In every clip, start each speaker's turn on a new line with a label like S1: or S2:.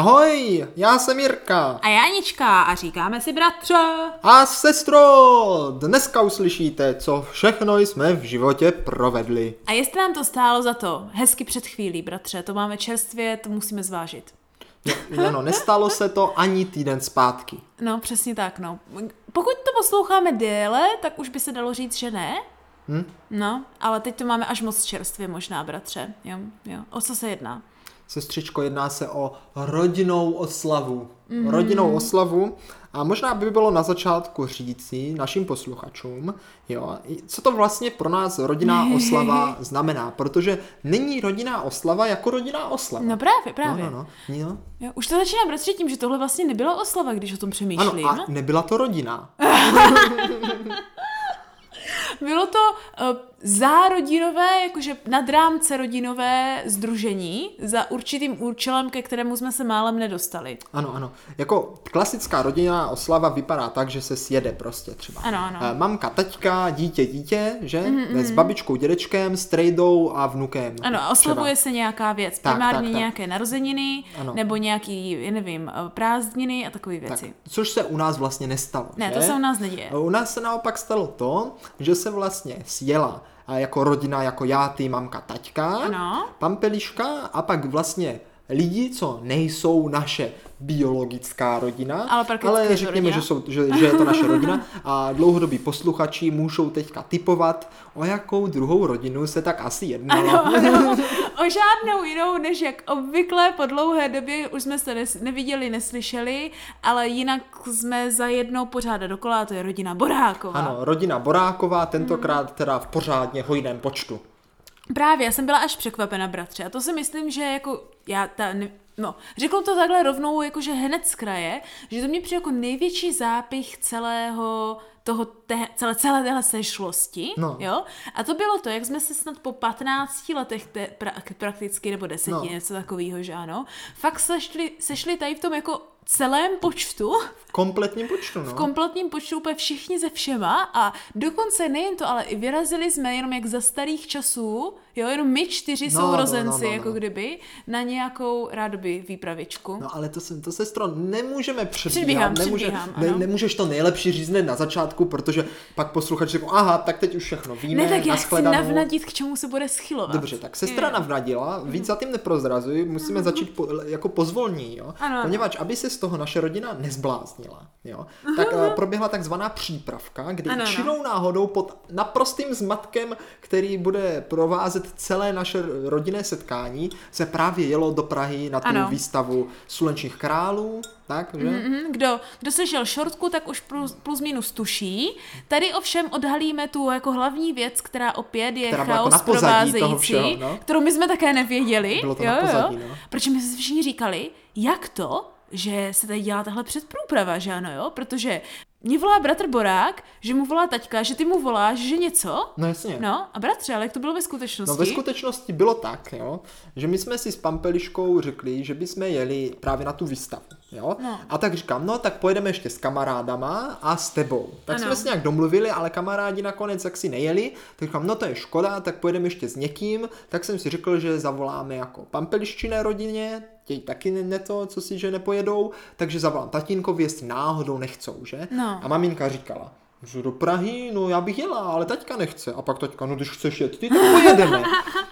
S1: Ahoj, já jsem Jirka.
S2: A Janička a říkáme si bratře.
S1: A sestro, dneska uslyšíte, co všechno jsme v životě provedli.
S2: A jestli nám to stálo za to, hezky před chvílí, bratře, to máme čerstvě, to musíme zvážit.
S1: No, no nestalo se to ani týden zpátky.
S2: No, přesně tak, no. Pokud to posloucháme déle, tak už by se dalo říct, že ne.
S1: Hm?
S2: No, ale teď to máme až moc čerstvě možná, bratře. Jo, jo. O co se jedná?
S1: Sestřičko, jedná se o rodinnou oslavu.
S2: Mhm.
S1: Mm. Rodinnou oslavu. A možná by bylo na začátku říci našim posluchačům, jo, co to vlastně pro nás rodinná oslava znamená, protože není rodinná oslava jako rodinná oslava.
S2: No právě, právě.
S1: No, no, no. Jo.
S2: Jo, už to začíná bratře tím, že tohle vlastně nebyla oslava, když o tom
S1: Ano,
S2: přemýšlím.
S1: a nebyla to rodina.
S2: Bylo to uh, zárodinové, jakože nad rámce rodinové združení za určitým účelem, ke kterému jsme se málem nedostali.
S1: Ano, ano. Jako klasická rodinná oslava vypadá tak, že se sjede prostě třeba.
S2: Ano, ano. Mhm,
S1: Eh, Mamka, taťka, dítě, dítě, že? Mm-mm. S babičkou, dědečkem, s trejdou a vnukem.
S2: Ano, a oslavuje
S1: třeba.
S2: se nějaká věc,
S1: Tak,
S2: primárně
S1: tak, tak.
S2: nějaké narozeniny,
S1: Ano.
S2: nebo nějaký, já nevím, eh, prázdniny a takové věci.
S1: Tak, což se u nás vlastně nestalo.
S2: Ne,
S1: že?
S2: to se u nás neděje.
S1: U nás se naopak stalo to, že se vlastně sjela a jako rodina, jako já, ty, mamka, taťka,
S2: Ano.
S1: pampeliška a pak vlastně lidi, co nejsou naše biologická rodina,
S2: Ale prakticky je to
S1: ale řekněme,
S2: rodina.
S1: že, jsou, že, že je to naše rodina a dlouhodobí posluchači můžou teďka typovat, o jakou druhou rodinu se tak asi jednalo.
S2: Ano, o žádnou jinou, než jak obvykle po dlouhé době už jsme se nes- neviděli, neslyšeli, ale jinak jsme za jednou pořád dokola, a to je rodina Boráková.
S1: Ano, rodina Boráková, tentokrát teda v pořádně hojném počtu.
S2: Právě, já jsem byla až překvapena, bratře. A to si myslím, že jako já ta, ne- no, řeknu to takhle rovnou, jakože hned z kraje, že to mě přijde jako největší zápich celého toho, te, celé, celé téhle sešlosti,
S1: No.
S2: jo? A to bylo to, jak jsme se snad po 15 letech te, pra, prakticky, nebo 10,
S1: No.
S2: no. něco takového, že ano, fakt sešli, sešli tady v tom jako celém počtu,
S1: V kompletním počtu, no.
S2: v kompletním počtu úplně všichni ze všema a dokonce nejen to, ale i vyrazili jsme jenom jak za starých časů, jo, jenom my čtyři
S1: No,
S2: no,
S1: no,
S2: sourozenci,
S1: no, no, no.
S2: jako kdyby, na nějakou rádoby výpravičku. No.
S1: No ale to, se- to sestro, nemůžeme předbíhat.
S2: Předbíhám,
S1: nemůže,
S2: předbíhám,
S1: ne,
S2: ano.
S1: nemůžeš to nejlepší říct hned na začátku, protože pak posluchač řekl, aha, tak teď už všechno víme,
S2: Ne, tak já chci
S1: nashledanou.
S2: navnadit, k čemu se bude schylovat.
S1: Dobře, tak sestra
S2: Jo.
S1: navnadila,
S2: Mhm.
S1: víc zatím neprozrazuji, musíme začít po, jako pozvolní, jo?
S2: Ano, ano.
S1: Poněvadž, aby se z toho naše rodina nezbláznila, jo? Tak eh, proběhla takzvaná přípravka, kdy
S2: Mhm. Ano, ano.
S1: čirou náhodou pod naprostým zmatkem, který bude provázet celé naše rodinné setkání, se právě jelo do Prahy na tu
S2: Ano.
S1: výstavu Slunečních králů, tak, že?
S2: Mhm, Kdo, kdo slyšel šortku, tak už plus, plus minus tuší. Tady ovšem odhalíme tu jako hlavní věc, která opět je
S1: Která byla jako
S2: chaos
S1: na pozadí toho
S2: provázející,
S1: všeho, no.
S2: kterou my jsme také nevěděli.
S1: Bylo to na pozadí, no.
S2: Proč my jsme všichni říkali, jak to, že se tady dělá tahle předprůprava, že ano, jo? Protože mě volá bratr Borák, že mu volá taťka, že ty mu voláš, že něco.
S1: No jasně.
S2: No a bratře, ale jak to bylo ve skutečnosti?
S1: No ve skutečnosti bylo tak, jo, že my jsme si s Pampeliškou řekli, že bychom jeli právě na tu výstavu. Jo?
S2: No.
S1: A tak říkám, no tak pojedeme ještě s kamarádama a s tebou. Tak
S2: Ano.
S1: jsme si nějak domluvili, ale kamarádi nakonec jak si nejeli, tak říkám, no to je škoda, tak pojedeme ještě s někým. Tak jsem si řekl, že zavoláme jako Pampeliščiné rodině, těj taky ne- ne to, co si, že nepojedou, takže zavolám tatínkovi, jestli náhodou nechcou, že?
S2: No.
S1: A maminka říkala, že do Prahy, no já bych jela, ale taťka nechce. A pak taťka, no když chceš jet ty, tak pojedeme.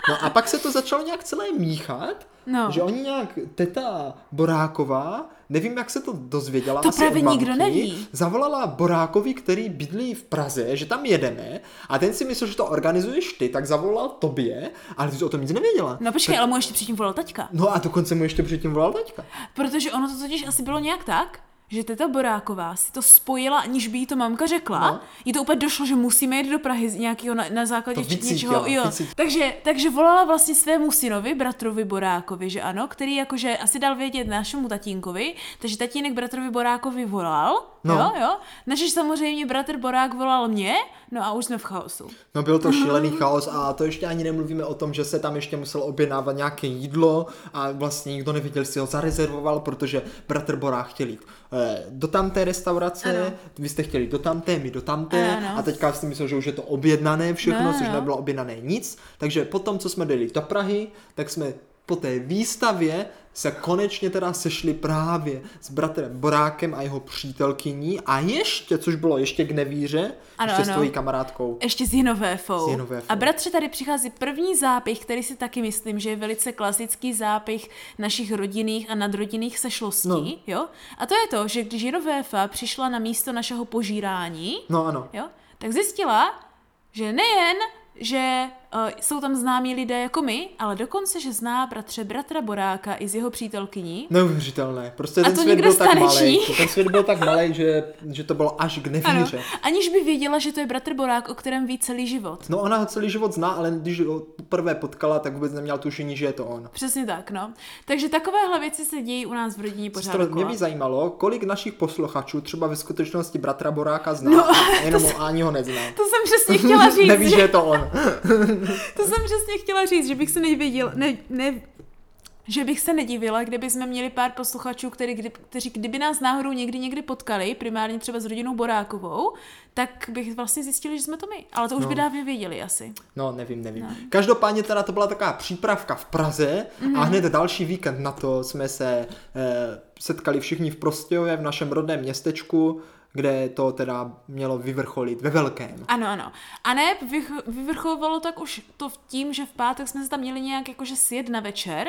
S1: No a pak se to začalo nějak celé míchat,
S2: No.
S1: že oni nějak, teta Boráková, nevím, jak se to dozvěděla,
S2: To
S1: asi
S2: právě
S1: od mamky,
S2: nikdo neví.
S1: zavolala Borákovi, který bydlí v Praze, že tam jedeme a ten si myslel, že to organizuješ ty, tak zavolal tobě, ale ty jsi o tom nic nevěděla.
S2: No počkej, ale mu ještě předtím volal taťka.
S1: No a dokonce mu ještě předtím volal taťka.
S2: Protože ono to totiž asi bylo nějak tak, že teta Boráková si to spojila, aniž by jí to mamka řekla.
S1: No.
S2: No. Jí to úplně došlo, že musíme jít do Prahy z nějakého na, na základě
S1: To
S2: či-
S1: vycítila,
S2: něčeho. Jo.
S1: vycítila.
S2: Takže, takže volala vlastně svému synovi, bratrovi Borákovi, že ano, který jakože asi dal vědět našemu tatínkovi, takže tatínek bratrovi Borákovi volal.
S1: No.
S2: No. Jo, jo. Nažež samozřejmě bratr Borák volal mě, no a už jsme v chaosu.
S1: No byl to šílený chaos a to ještě ani nemluvíme o tom, že se tam ještě muselo objednávat nějaké jídlo a vlastně nikdo nevěděl, jestli ho zarezervoval, protože bratr Borá chtěl jít eh, do tamté restaurace, ano.
S2: Ano.
S1: vy jste chtěli do tamté, my do tamté
S2: Ano, ano.
S1: a teďka si myslel, že už je to objednané všechno,
S2: No,
S1: což
S2: ano.
S1: nebylo objednané nic, takže potom, co jsme dojeli do Prahy, tak jsme po té výstavě se konečně teda sešli právě s bratrem Borákem a jeho přítelkyní a ještě, což bylo ještě k nevíře,
S2: Ano,
S1: ještě s
S2: ano.
S1: tvojí kamarádkou.
S2: Ještě s Jinovéfou.
S1: S Jinovéfou.
S2: A bratře, tady přichází první zápěch, který si taky myslím, že je velice klasický zápěch našich rodinných a nadrodinných sešlostí.
S1: No.
S2: Jo? A to je to, že když Jinovéfa přišla na místo našeho požírání,
S1: No ano.
S2: jo, tak zjistila, že nejen, že uh, jsou tam známí lidé jako my, ale dokonce, že zná bratře bratra Boráka i z jeho přítelkyní.
S1: Neuvěřitelné. Prostě ten
S2: to
S1: svět
S2: nikdo
S1: byl tak malý.
S2: staneční.
S1: Ten svět byl tak malý, že, že to bylo až k
S2: Ano,
S1: nevíře.
S2: aniž by věděla, že to je bratr Borák, o kterém ví celý život.
S1: No ona ho celý život zná, ale když ho poprvé potkala, tak vůbec neměla tušení, že je to on.
S2: Přesně tak, no. Takže takovéhle věci se dějí u nás v rodině pořád.
S1: Sestro, mě
S2: dokola.
S1: by zajímalo, kolik našich posluchačů třeba ve skutečnosti bratra Boráka zná,
S2: No,
S1: no, jenom to... ani ho nezná.
S2: To jsem přesně chtěla říct.
S1: Neví, že
S2: že,
S1: je to on.
S2: to jsem přesně chtěla říct, že bych se nevěděl, ne, ne, že bych se nedivila, kdyby jsme měli pár posluchačů, který, kdy, kteří kdyby nás náhodou někdy někdy potkali, primárně třeba s rodinou Borákovou, tak bych vlastně zjistili, že jsme to my. Ale to už
S1: No.
S2: by dávě věděli asi.
S1: No, nevím, nevím. No. Každopádně teda to byla taková přípravka v Praze mm-hmm. a hned další víkend na to jsme se eh, setkali všichni v Prostějově, v našem rodném městečku, kde to teda mělo vyvrcholit ve velkém.
S2: Ano, ano. A ne, vych- vyvrchovalo tak už to v tím, že v pátek jsme se tam měli nějak jakože sjet na večer.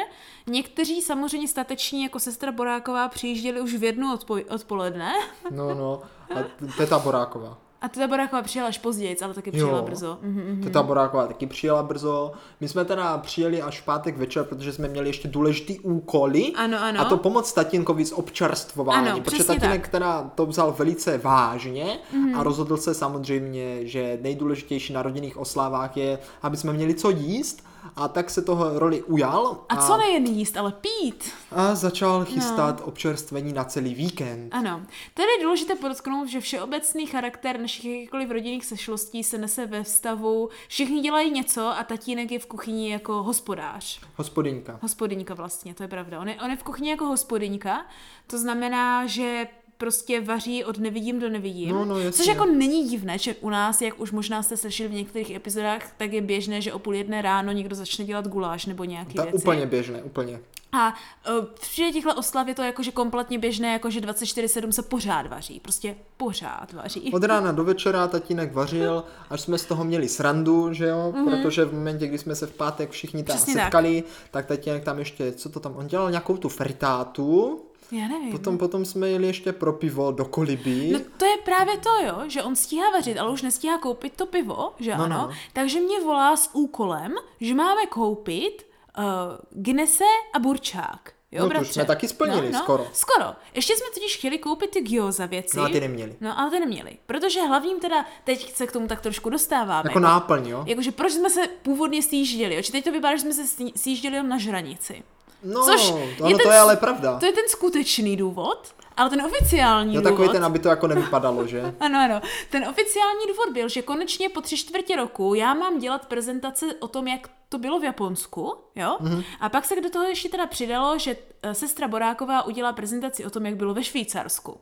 S2: Někteří samozřejmě stateční, jako sestra Boráková, přijížděli už v jednu odpo- odpoledne.
S1: No, no. A t- Teta Boráková.
S2: A teda Boráková přijela až později, ale taky přijela
S1: Jo.
S2: brzo. Mhm.
S1: Teta Boráková taky přijela brzo. My jsme teda přijeli až v pátek večer, protože jsme měli ještě důležitý úkoly.
S2: Ano, ano.
S1: A to pomoc tatínkovi s občerstvováním,
S2: Ano,
S1: protože
S2: přesně Mhm.
S1: tatínek teda to vzal velice vážně a rozhodl se samozřejmě, že nejdůležitější na rodinných oslávách je, aby jsme měli co jíst a tak se toho roli ujal
S2: A co No. nejen jíst, ale pít.
S1: a začal chystat občerstvení na celý víkend.
S2: Ano. Tady je důležité podotknout, že všeobecný charakter našich jakýchkoliv rodinných sešlostí se nese ve vztahu, všichni dělají něco a tatínek je v kuchyni jako hospodář.
S1: Hospodinka.
S2: Hospodyňka vlastně, to je pravda. On je, on je v kuchyni jako hospodyňka, to znamená, že prostě vaří od nevidím do nevidím.
S1: No, no, jasně.
S2: což jako není divné, že u nás, jak už možná jste slyšeli v některých epizodách, tak je běžné, že o půl jedné ráno někdo začne dělat guláš nebo nějaké
S1: To je
S2: věci.
S1: úplně běžné, úplně.
S2: A uh, při těchto oslav je to jakože kompletně běžné, jako jakože 24-7 se pořád vaří. Prostě pořád vaří.
S1: Od rána do večera tatínek vařil, až jsme z toho měli srandu, že jo, mm-hmm. protože v momentě, kdy jsme se v pátek všichni tam
S2: Mhm. Přesně tak.
S1: setkali, tak. tak tatínek tam ještě, co to tam, on dělal nějakou tu fritátu,
S2: Já nevím.
S1: potom, potom jsme jeli ještě pro pivo do koliby.
S2: No to je právě to, jo, že on stíhá vařit, ale už nestíhá koupit to pivo, že
S1: No,
S2: ano.
S1: no.
S2: Takže mě volá s úkolem, že máme koupit uh, Gnese a Burčák. Jo,
S1: No, to už
S2: bratře?
S1: jsme taky splnili, skoro.
S2: Skoro. Ještě jsme totiž chtěli koupit ty gyoza věci.
S1: No a ty neměli.
S2: No ale ty neměli, protože hlavním teda, teď se k tomu tak trošku dostáváme.
S1: Jako náplň, jo?
S2: Jakože proč jsme se původně sjížděli, jo? Či teď to vypadá, že jsme se sní- sjížděli jenom na žranici.
S1: No,
S2: Což
S1: ono to
S2: ten
S1: je
S2: s-
S1: ale pravda.
S2: To je ten skutečný důvod, ale ten oficiální
S1: Jo,
S2: důvod...
S1: takový ten, aby to jako nevypadalo, že?
S2: Ano, ano. Ten oficiální důvod byl, že konečně po tři čtvrtě roku já mám dělat prezentace o tom, jak to bylo v Japonsku, jo? Mm-hmm.
S1: Mhm.
S2: A pak se do toho ještě teda přidalo, že eh, sestra Boráková udělá prezentaci o tom, jak bylo ve Švýcarsku.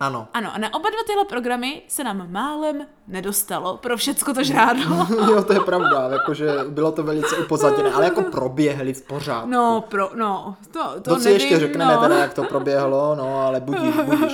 S1: Ano.
S2: Ano, a na oba dva tyhle programy se nám málem nedostalo pro všecko to žrádlo.
S1: Jo, to je pravda, jakože bylo to velice upozaděné, ale jako proběhli v pořádku.
S2: No, pro, no, to, to
S1: To, si
S2: nevím,
S1: ještě řekneme,
S2: no.
S1: teda, jak to proběhlo, no, ale budíš, budíš.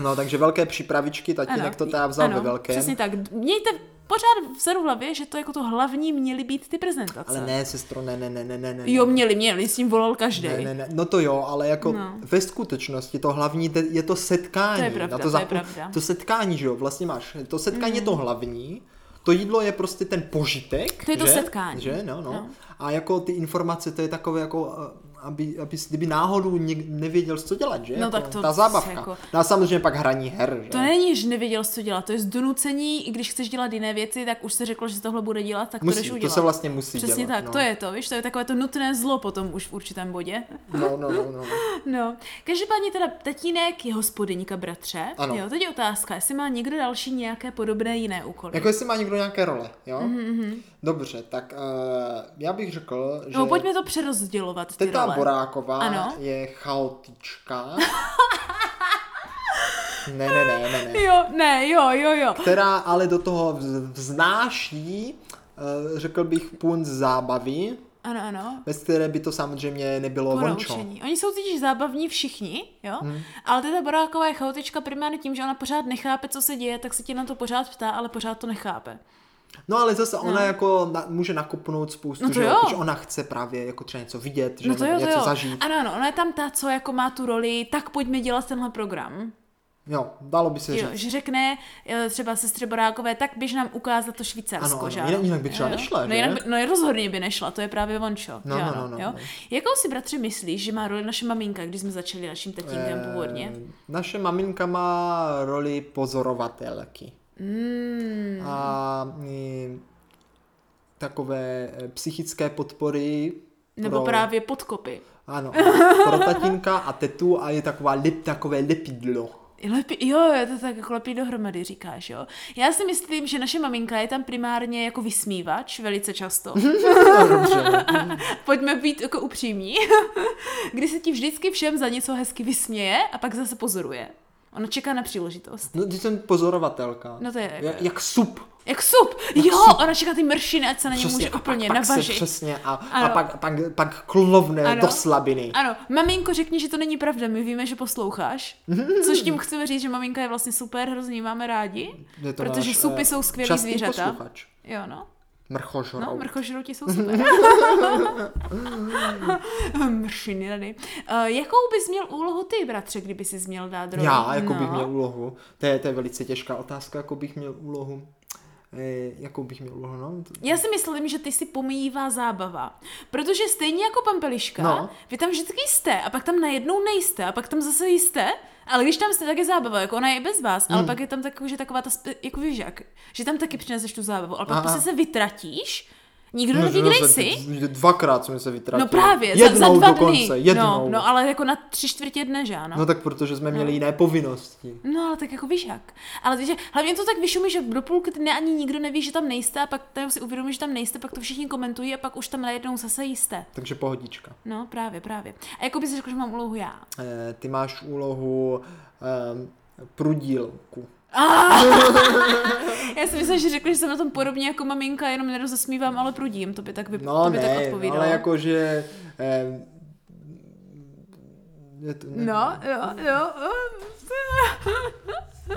S1: No, takže velké přípravičky, tatínek ano, to teda vzal
S2: ano,
S1: ve velkém.
S2: Přesně tak. Mějte pořád vzadu v hlavě, že to jako to hlavní měly být ty prezentace.
S1: Ale ne, sestro, ne, ne, ne, ne, ne. ne.
S2: Jo, měli, měli, s tím volal každý.
S1: Ne, ne, ne. No to jo, ale jako no. ve skutečnosti to hlavní te- je to setkání.
S2: To je pravda,
S1: Na
S2: to je
S1: zapo-
S2: pravda.
S1: To setkání, že jo, vlastně máš, to setkání mm. je to hlavní, to jídlo je prostě ten požitek.
S2: To je to
S1: že?
S2: setkání.
S1: Že, no, no,
S2: No.
S1: no. A jako ty informace, to je takové jako, eh, aby, aby kdyby náhodou něk- nevěděl, co dělat, že?
S2: No
S1: jako,
S2: tak to
S1: Ta
S2: se
S1: zábavka.
S2: jako-
S1: No a samozřejmě pak hraní her, že?
S2: To není, že nevěděl, co dělat, to je zdonucení, i když chceš dělat jiné věci, tak už se řeklo, že tohle bude dělat, tak to jdeš
S1: musí, to
S2: udělat.
S1: se vlastně musí
S2: Přesně
S1: dělat.
S2: tak,
S1: no.
S2: to je to, víš, to je takové to nutné zlo potom už v určitém bodě.
S1: No, no, no, no.
S2: No, každopádně teda tatínek je hospodyníka bratře.
S1: Ano.
S2: Jo, teď je otázka, jestli má někdo další nějaké podobné jiné úkoly.
S1: Jako jestli má někdo nějaké role, jo? Mm-hmm. Dobře, tak uh, já bych řekl, že
S2: No, pojďme to přerozdělovat. Ty
S1: teta
S2: role.
S1: Boráková
S2: Ano.
S1: je chaotička. ne, ne, ne, ne, ne.
S2: Jo, ne, jo, jo, jo.
S1: Která ale do toho vz- vznáší, eh, řekl bych, punc zábavy.
S2: Ano, ano.
S1: bez které by to samozřejmě nebylo vončo.
S2: Ponaučení. Oni jsou totiž zábavní všichni, jo? Hmm. Ale teda Boráková je chaotička primárně tím, že ona pořád nechápe, co se děje, tak se tě na to pořád ptá, ale pořád to nechápe.
S1: No ale zase ona jako na, může nakopnout spoustu,
S2: No to
S1: že
S2: jo.
S1: protože ona chce právě jako třeba něco vidět, že
S2: No to jo, to
S1: něco
S2: jo.
S1: zažít.
S2: Ano, ano, ona je tam ta, co jako má tu roli, tak pojďme dělat tenhle program.
S1: Jo, dalo by se
S2: Jo,
S1: říct.
S2: že řekne eh, třeba sestře Borákové, tak běž nám ukázat to Švýcarsko,
S1: Ano, ano,
S2: že
S1: jinak- jinak by třeba
S2: Jo, jo.
S1: nešla,
S2: no,
S1: že?
S2: jinak by, no rozhodně by nešla, to je právě vončo.
S1: No,
S2: že
S1: no, no,
S2: ano,
S1: no,
S2: jo?
S1: no.
S2: Jakou si, bratře, myslíš, že má roli naše maminka, když jsme začali naším tatínkem
S1: Eh,
S2: původně?
S1: Naše maminka má roli pozorovatelky.
S2: Hmm.
S1: Mm. A mm, takové eh, psychické podpory
S2: Nebo
S1: pro,
S2: právě podkopy.
S1: Ano, pro tatínka a tetu a je taková lip, takové lepidlo.
S2: Lepi, jo, jo, to tak jako lepí dohromady, říkáš, jo. Já si myslím, že naše maminka je tam primárně jako vysmívač velice často.
S1: Mhm. Dobře. no.
S2: Pojďme být jako upřímní. Kdy se ti vždycky všem za něco hezky vysměje a pak zase pozoruje. Ona čeká na příležitost.
S1: No, ty jsem pozorovatelka.
S2: No to je-
S1: Jak, jak sup.
S2: Jak sup!
S1: No
S2: Jo, ona čeká ty mršiny, ať se na ně může
S1: a pak-
S2: úplně
S1: pak Se,
S2: navažit.
S1: přesně, a, a
S2: Ano.
S1: pak, pak, pak klovne
S2: Ano.
S1: do slabiny.
S2: Ano, maminko řekni, že to není pravda, my víme, že posloucháš.
S1: Mhm.
S2: Což tím chceme říct, že maminka je vlastně super, hrozně ji máme rádi.
S1: Je to
S2: Protože
S1: náš,
S2: supy
S1: eh,
S2: jsou skvělý
S1: častý
S2: zvířata.
S1: posluchač.
S2: Jo, no.
S1: Mrchožrou.
S2: No, mrchožrouti jsou super. Mršiny rady. Uh, jakou bys měl úlohu ty, bratře, kdyby jsi měl dát roli?
S1: Já, jako
S2: no.
S1: bych měl úlohu. To je, to je velice těžká otázka, jako bych měl úlohu. E, jakou bych měl úlohu, no? To-
S2: Já si myslím, že ty si pomíjivá zábava. Protože stejně jako pampeliška,
S1: No.
S2: no. vy tam vždycky jste a pak tam najednou nejste a pak tam zase jste, ale když tam jste, tak je zábava, jako ona je i bez vás,
S1: Hmm.
S2: ale pak je tam takový, že taková ta, spe- jako víš jak, že tam taky přineseš tu zábavu, ale pak
S1: Aha.
S2: prostě se vytratíš, nikdo
S1: No,
S2: neví,
S1: že
S2: kde
S1: se-
S2: jsi.
S1: že Dvakrát jsme se vytratili.
S2: No právě,
S1: jednou
S2: za, za dva
S1: dokonce,
S2: dny.
S1: Jednou.
S2: No, no, ale jako na tři čtvrtě dne, že ano?
S1: no tak protože jsme měli jiné povinnosti.
S2: No, ale tak jako víš jak. Ale víš, jak- hlavně to tak vyšumí, že do půlky dne ani nikdo neví, že tam nejste a pak teda si uvědomí, že tam nejste, pak to všichni komentují a pak už tam najednou zase jste.
S1: Takže pohodička.
S2: No, právě, právě. A jako bys řekl, že mám úlohu já.
S1: E, ty máš úlohu e, prudílku.
S2: Já si myslím, že řekl, že jsem na tom podobně jako maminka, jenom nerozesmívám, ale prudím, to by tak, vyp...
S1: No
S2: to by tak
S1: ne, no,
S2: odpovídalo.
S1: ale jakože... E, je to, ne,
S2: No, jo, jo, jo.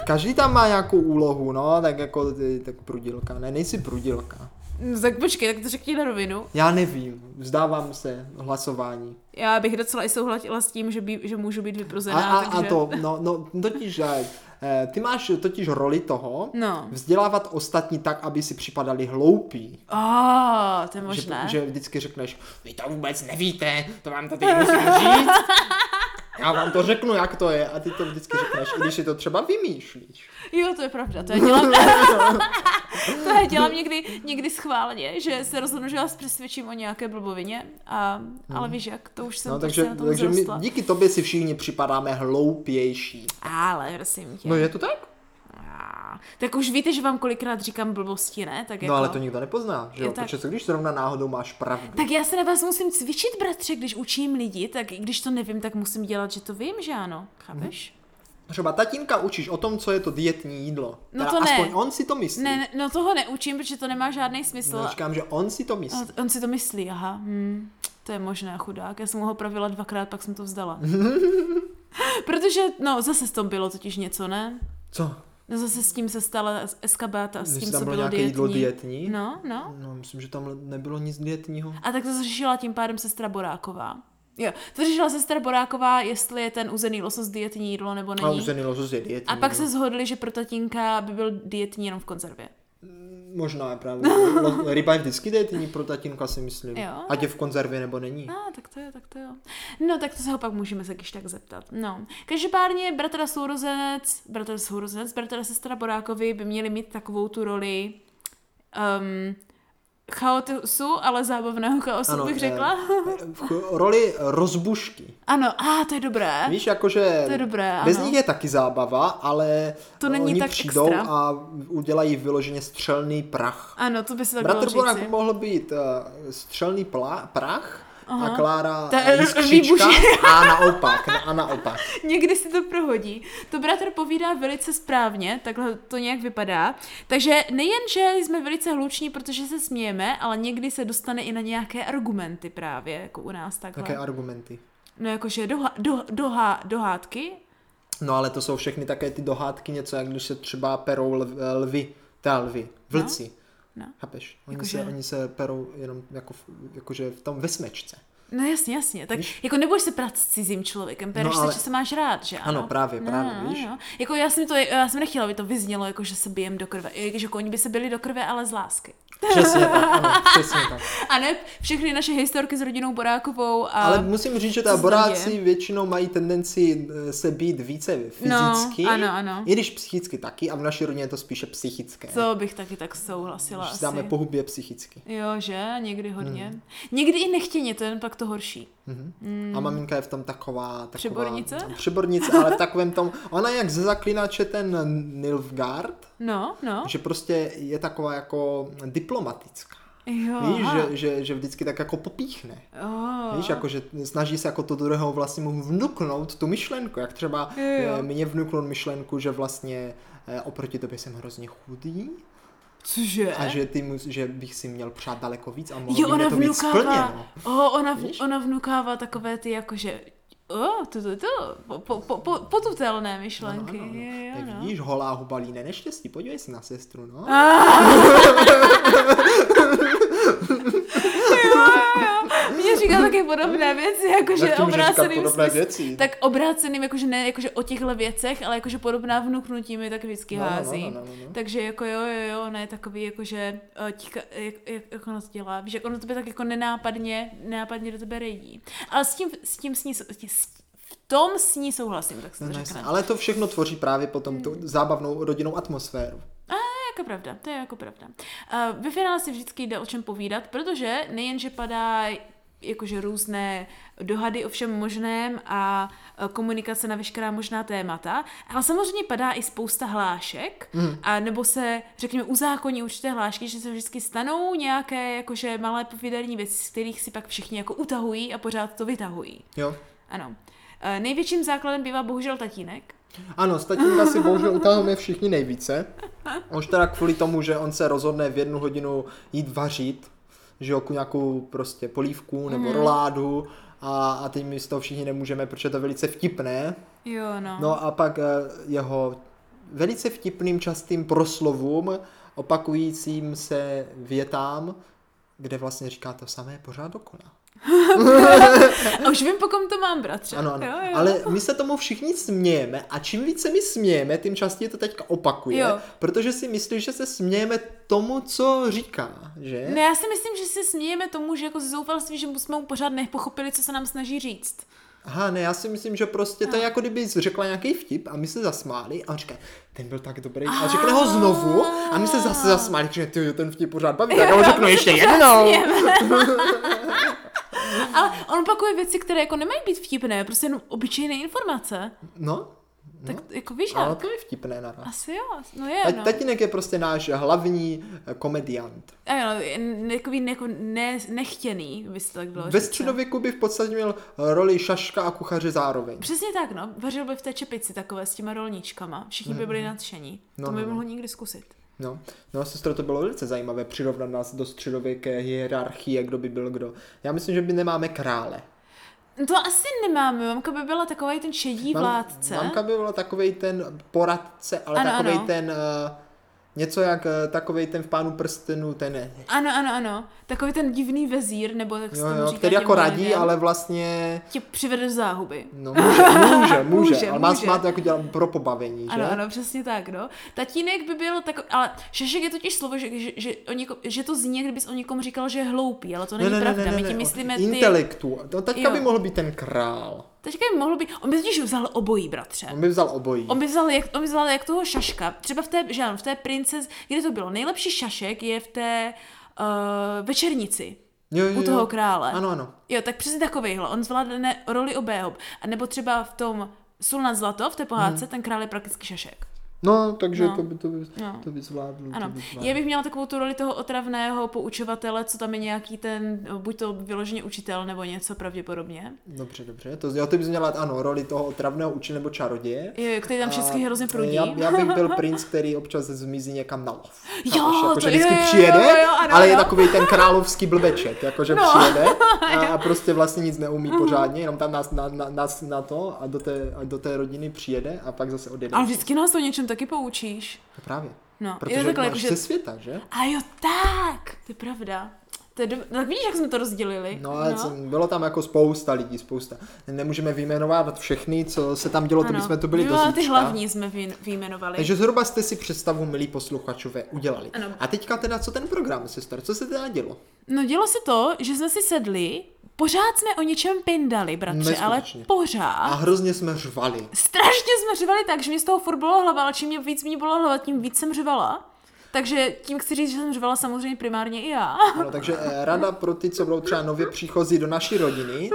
S1: Každý tam má nějakou úlohu, no, tak jako ty, tak prudilka. Ne, nejsi prudilka.
S2: No, tak počkej, tak to řekni na rovinu.
S1: Já nevím, vzdávám se hlasování.
S2: Já bych docela i souhlasila s tím, že, by, že můžu být vyprozená,
S1: A, a, a
S2: takže...
S1: to, no, no totiž, eh, eh, ty máš totiž roli toho,
S2: No.
S1: vzdělávat ostatní tak, aby si připadali hloupí.
S2: A, to je
S1: Že,
S2: možné.
S1: že vždycky řekneš, vy to vůbec nevíte, to vám to teď musím říct. Já vám to řeknu, jak to je. A ty to vždycky řekneš, i když si to třeba vymýšlíš.
S2: Jo, to je pravda, to já dělám. to já dělám někdy, někdy schválně, že se rozhodnu, že vás přesvědčím o nějaké blbovině, a, ale víš jak, to už jsem
S1: Hmm. No,
S2: no,
S1: takže,
S2: na tom
S1: takže my,
S2: vzrostla.
S1: díky tobě si všichni připadáme hloupější.
S2: Ale, prosím tě.
S1: No je to tak?
S2: A, tak už víte, že vám kolikrát říkám blbosti, ne? Tak jako...
S1: No ale to nikdo nepozná, že
S2: Je
S1: jo?
S2: tak.
S1: Protože co když zrovna náhodou máš pravdu?
S2: Tak já se na vás musím cvičit, bratře, když učím lidi, tak i když to nevím, tak musím dělat, že to vím, že ano. Chápeš?
S1: Mhm. Třeba tatínka učíš o tom, co je to dietní jídlo.
S2: No
S1: Teda
S2: to ne.
S1: aspoň on si to myslí.
S2: Ne, ne, no toho neučím, protože to No, nemá žádný smysl.
S1: No, říkám, že on si to myslí.
S2: A On si to myslí, aha. Hmm. To je možné, chudák. Já jsem ho opravila dvakrát, pak jsem to vzdala. Protože, no, zase s tom bylo totiž něco, ne?
S1: Co?
S2: No zase s tím se stala eskabáta, s
S1: Když
S2: tím,
S1: tam
S2: co
S1: bylo
S2: bylo
S1: nějaké
S2: dietní.
S1: jídlo dietní?
S2: No, no.
S1: No, myslím, že tam nebylo nic dietního.
S2: A tak to řešila tím pádem sestra Boráková. Jo, to řešila sestra Boráková, jestli je ten uzený losos dietní jídlo nebo
S1: A
S2: není.
S1: uzený losos je dietní.
S2: A pak
S1: no.
S2: se shodli, že pro tatínka by byl dietní jenom v konzervě.
S1: Možná je právě. Lo- Ryba je vždycky dietní pro tatínka, si myslím.
S2: Jo. No,
S1: Ať je v konzervě nebo není.
S2: A, tak to jo, tak to jo. No, tak to se ho pak můžeme se když tak zeptat. No, každopádně bratra sourozenec, bratra sourozenec, bratra sestra Borákovi by měli mít takovou tu roli um, chaosu, ale zábavného chaosu ano, bych
S1: eh,
S2: řekla.
S1: v roli rozbušky.
S2: Ano, a ah, to je dobré.
S1: Víš, jakože
S2: To je dobré,
S1: bez
S2: ano.
S1: nich je taky zábava, ale
S2: To není
S1: oni
S2: tak
S1: přijdou
S2: extra.
S1: a udělají vyloženě střelný prach.
S2: Ano, to by se tak
S1: Bratr
S2: dalo
S1: Borák
S2: říci.
S1: mohl být uh, střelný plá- prach, a Klára
S2: Ta-
S1: eh, jiskřička
S2: výbušně.
S1: a naopak, na- a naopak.
S2: Někdy si to prohodí. To bratr povídá velice správně, takhle to nějak vypadá. Takže nejen, že jsme velice hluční, protože se smějeme, ale někdy se dostane i na nějaké argumenty právě, jako u nás takhle.
S1: Jaké argumenty?
S2: No jakože doha, do, doha, dohádky,
S1: No ale to jsou všechny také ty dohádky, něco jak když se třeba perou lv, eh, lvy, ta lvy, vlci.
S2: No, no.
S1: Chápeš? Oni,
S2: Jakože-
S1: se, oni se perou jenom jako, v- jakože v tom ve smečce.
S2: No jasně, jasně. Tak
S1: Víš?
S2: jako nebudeš se prát s cizím člověkem, pereš no,
S1: No,
S2: ale...
S1: ale-
S2: se, že se máš rád, že ano?
S1: Ano, právě, právě,
S2: no,
S1: víš?
S2: No. Jako já jsem, to, já jsem nechtěla, aby to vyznělo, jako že se bijem do krve. I Že koni by se byli do krve, ale z lásky.
S1: Přesně tak, ano, přesně tak.
S2: A ne všechny naše historky s rodinou Borákovou a...
S1: Ale musím říct, že ta
S2: co se tam
S1: boráci
S2: děje? No,
S1: většinou mají tendenci eh, se být více fyzicky,
S2: ano, ano.
S1: i když psychicky taky, a v naší rodině je to spíše psychické.
S2: To bych taky tak souhlasila
S1: Když si
S2: asi.
S1: dáme pohubě psychicky.
S2: Jo, že? Někdy hodně. Hmm. Někdy i nechtěně, to je jen pak to horší.
S1: A maminka je v tom taková... taková
S2: Mm.
S1: No,
S2: Přebornice?
S1: Přebornice, ale v takovém tom... Ona je jak ze zaklínače ten Nilfgaard,
S2: No, no.
S1: že prostě je taková jako diplomatická.
S2: Jo.
S1: Víš,
S2: Oh, aha. Oh.
S1: že, že, že vždycky tak jako popíchne.
S2: Jo.
S1: Víš, jako, že snaží se jako to druhého vlastně mu vnuknout tu myšlenku, jak třeba
S2: Jo, jo.
S1: eh, mě vnuknul myšlenku, že vlastně eh, oproti tobě jsem hrozně chudý
S2: Cože?
S1: a že, ty mus, že bych si měl přát daleko víc a mohl
S2: Eh? Jo,
S1: by mě
S2: ona
S1: to být
S2: vnukává,
S1: splněno.
S2: o, ona, v,
S1: Víš?
S2: ona vnukává takové ty jakože, o, to, to, to, po, po, po, po, potutelné
S1: Ano,
S2: myšlenky.
S1: ano, ano.
S2: Jo, jo,
S1: Tak
S2: no.
S1: vidíš, holá huba líne neštěstí, podívej se na sestru, no.
S2: Mně říká taky podobné věci, jakože
S1: Jak ty můžeš říkat
S2: obráceným
S1: podobné
S2: smysl-
S1: věci?
S2: Tak obráceným, jakože ne jakože o těchto věcech, ale jakože podobná vnuknutí mi tak vždycky
S1: No, no, no,
S2: hází.
S1: no, no, no.
S2: Takže jako jo, jo, jo, ona je takový jakože, eh, tíka, jak, jak, jak ona to dělá, víš, jak ono tebe tak jako nenápadně, nenápadně do tebe rejdí. Ale s tím, s tím s ní, s, s- v tom s ní souhlasím, tak se to Hmm.
S1: No,
S2: řekne.
S1: jasně, ale to všechno tvoří právě potom tu zábavnou rodinnou atmosféru.
S2: To je jako pravda, to je jako pravda. Uh, ve finále si vždycky jde o čem povídat, protože nejenže padá jakože různé dohady o všem možném a eh, komunikace na veškerá možná témata, ale samozřejmě padá i spousta hlášek,
S1: Hmm.
S2: mm. a nebo se, řekněme, uzákoní určité hlášky, že se vždycky stanou nějaké jakože malé povídání věci, z kterých si pak všichni jako utahují a pořád to vytahují.
S1: Jo.
S2: Ano. Eh, Největším základem bývá bohužel tatínek,
S1: Ano, s tatínka si bohužel utahujeme všichni nejvíce. Už teda kvůli tomu, že on se rozhodne v jednu hodinu jít vařit, že jo, ku nějakou prostě polívku nebo
S2: Mhm.
S1: mm. roládu a, a teď my z toho všichni nemůžeme, protože to je velice vtipné.
S2: Jo, no.
S1: No a pak eh, jeho velice vtipným častým proslovům, opakujícím se větám, kde vlastně říká to samé pořád dokola.
S2: A už vím, po kom to mám, bratře.
S1: Ano, ano.
S2: Jo, jo.
S1: Ale my se tomu všichni smějeme a čím více my smějeme, tím častěji to teďka opakuje,
S2: Jo.
S1: protože si myslíš, že se smějeme tomu, co říká, že?
S2: Ne, No, já si myslím, že se smějeme tomu, že jako ze zoufalství, že jsme mu pořád nepochopili, co se nám snaží říct.
S1: Aha, ne, já si myslím, že prostě to je jako kdyby jsi řekla nějaký vtip a my se zasmáli a on říká, ten byl tak dobrý. A řekne ho znovu a my se zase zasmáli, že ty ten vtip pořád baví, tak já ho řeknu No, ještě jednou.
S2: Ale on opakuje věci, které jako nemají být vtipné, prostě jenom obyčejné informace.
S1: No,
S2: Tak jako víš,
S1: ale
S2: jak?
S1: to je vtipné naraz.
S2: Asi jo, no je,
S1: Ta-
S2: no.
S1: Tatínek je prostě náš hlavní eh, komediant.
S2: Ano, je n- takový ne, jako ne, nechtěný, by se to tak bylo
S1: Ve
S2: říct, no.
S1: středověku by v podstatě měl eh, roli šaška a kuchaře zároveň.
S2: Přesně tak, no. Vařil by v té čepici takové s těma rolničkama. Všichni by byli nadšení.
S1: No,
S2: to by
S1: no, no.
S2: mohlo někdy zkusit.
S1: No, no sestro, to bylo velice zajímavé přirovnat nás do středověké hierarchie, kdo by byl kdo. Já myslím, že my nemáme krále.
S2: To asi nemáme. Mamka by byla takový ten šedí
S1: Mam-
S2: vládce.
S1: Mamka by byla takovej ten poradce, ale
S2: Ano,
S1: takovej
S2: ano.
S1: ten, eh, něco jak eh, takovej ten v pánu prstenu, ten, eh,
S2: Ano, ano, ano. Takový ten divný vezír, nebo jak se
S1: jo,
S2: tomu
S1: jo,
S2: říká.
S1: který jako
S2: těm
S1: radí,
S2: lidem,
S1: ale vlastně,
S2: Tě přivede do záhuby.
S1: no může, může, může,
S2: Může,
S1: ale má,
S2: může.
S1: má to jako dělat pro pobavení, že?
S2: Ano, ano, přesně tak, no. Tatínek by byl takový, ale šešek je totiž slovo, že, že, že, o něko, že to zní, jak kdybys o někom říkal, že je hloupý, ale to není pravda. My tím
S1: o-
S2: myslíme ty...
S1: Intelektu. No, teďka
S2: Jo.
S1: by mohl být ten král.
S2: Teďka by mohlo být, on by totiž vzal obojí, bratře.
S1: On by vzal obojí.
S2: On by, vzal jak, on by vzal jak toho šaška, třeba v té, že ano, v té princes, kde to bylo, nejlepší šašek je v té uh, večernici.
S1: Jo, jo,
S2: u
S1: jo.
S2: toho krále.
S1: Ano, ano.
S2: Jo, tak přesně takovýhle. On zvládne
S1: Hmm.
S2: roli obého. A nebo třeba v tom Sul nad zlato, v té pohádce, ten král je prakticky šašek.
S1: No, takže
S2: No.
S1: to by, to by,
S2: No.
S1: to by zvládl. To
S2: Ano,
S1: by zvládl.
S2: já bych měla takovou tu roli toho otravného poučovatele, co tam je nějaký ten, no, buď to vyloženě učitel nebo něco pravděpodobně,
S1: Dobře, dobře. To, jo, ty bys měla, ano, roli toho otravného učitele nebo čaroděje.
S2: Jo, jo, který tam všechny
S1: A
S2: hrozně prudí.
S1: Já, já bych byl princ, který občas zmizí někam na lov.
S2: Jo,
S1: Chápeš? jako,
S2: to
S1: že
S2: jo,
S1: vždycky
S2: jo, jo,
S1: přijede,
S2: jo, jo, ano,
S1: ale je
S2: jo.
S1: takový ten královský blbeček, jakože
S2: No. Mhm.
S1: přijede a, a prostě vlastně nic neumí pořádně, jenom tam nás na, na, nás na to a do, té, a do té rodiny přijede a pak zase odjede.
S2: Ale vždycky nás to něčem taky poučíš.
S1: To Právě.
S2: No,
S1: Protože
S2: jo, takhle,
S1: máš
S2: jakože-
S1: ze světa, že?
S2: A jo, tak, to je pravda. To je do... Tak vidíš, jak jsme to rozdělili.
S1: No ale no. bylo tam jako spousta lidí, spousta. Nemůžeme vyjmenovat všechny, co se tam dělo, to bychom to byli
S2: Jo,
S1: do
S2: ale ty
S1: zítřka.
S2: hlavní jsme vy- vyjmenovali.
S1: Takže zhruba jste si představu, milí posluchačové, udělali.
S2: Ano.
S1: A teďka teda, co ten program, sester, co se teda dělo?
S2: No dělo se to, že jsme si sedli, pořád jsme o něčem pindali, bratře, ale
S1: Neskutečně.
S2: pořád.
S1: A hrozně jsme řvali.
S2: Strašně jsme řvali tak, že mě z toho furt bylo hlava, ale čím mě víc mě bylo hlava, tím víc jsem řvala. Takže tím chci říct, že jsem řvala samozřejmě primárně i já.
S1: Ano, takže eh, rada pro ty, co budou třeba nově příchozí do naší rodiny,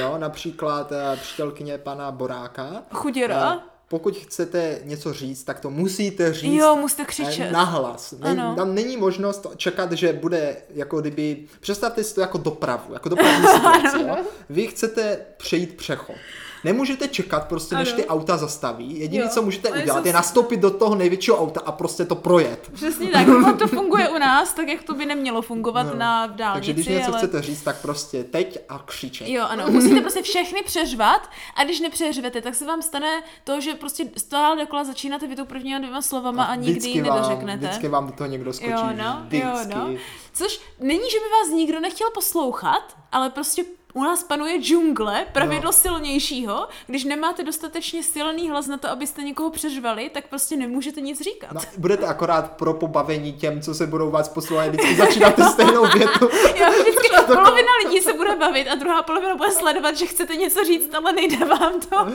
S1: jo, například eh, přítelkyně pana Boráka.
S2: Chuděra.
S1: Eh, Pokud chcete něco říct, tak to musíte říct.
S2: Jo, musíte
S1: eh,
S2: křičet.
S1: Nahlas. Není,
S2: Ano.
S1: tam není možnost čekat, že bude jako kdyby... Představte si to jako dopravu, jako dopravní situaci. jo. Vy chcete přejít přechod. Nemůžete čekat prostě, než
S2: Ano.
S1: ty auta zastaví. Jediné,
S2: Jo.
S1: co můžete
S2: A já
S1: udělat,
S2: jsem
S1: je
S2: si-
S1: nastoupit do toho největšího auta a prostě to projet.
S2: Přesně tak, pokud to funguje u nás, tak jak to by nemělo fungovat no. na dálnici,
S1: Takže když něco
S2: ale...
S1: chcete říct, tak prostě teď a křičet.
S2: Jo, ano, musíte prostě všechny přeřvat a když nepřeřvete, tak se vám stane to, že prostě stále dokola začínáte vy tou prvníma dvěma slovama a, nikdy ji
S1: Vám,
S2: nedořeknete.
S1: vždycky vám do toho někdo skočí.
S2: jo, no,
S1: vždycky.
S2: jo, no. Což není, že by vás nikdo nechtěl poslouchat, ale prostě u nás panuje džungle, pravidlo
S1: No.
S2: no. silnějšího. Když nemáte dostatečně silný hlas na to, abyste někoho přeřvali, tak prostě nemůžete nic říkat.
S1: No, budete akorát pro pobavení těm, co se budou vás poslouchat, vždycky začínáte stejnou větu.
S2: Já vždycky polovina lidí se bude bavit a druhá polovina bude sledovat, že chcete něco říct, ale nejde vám to.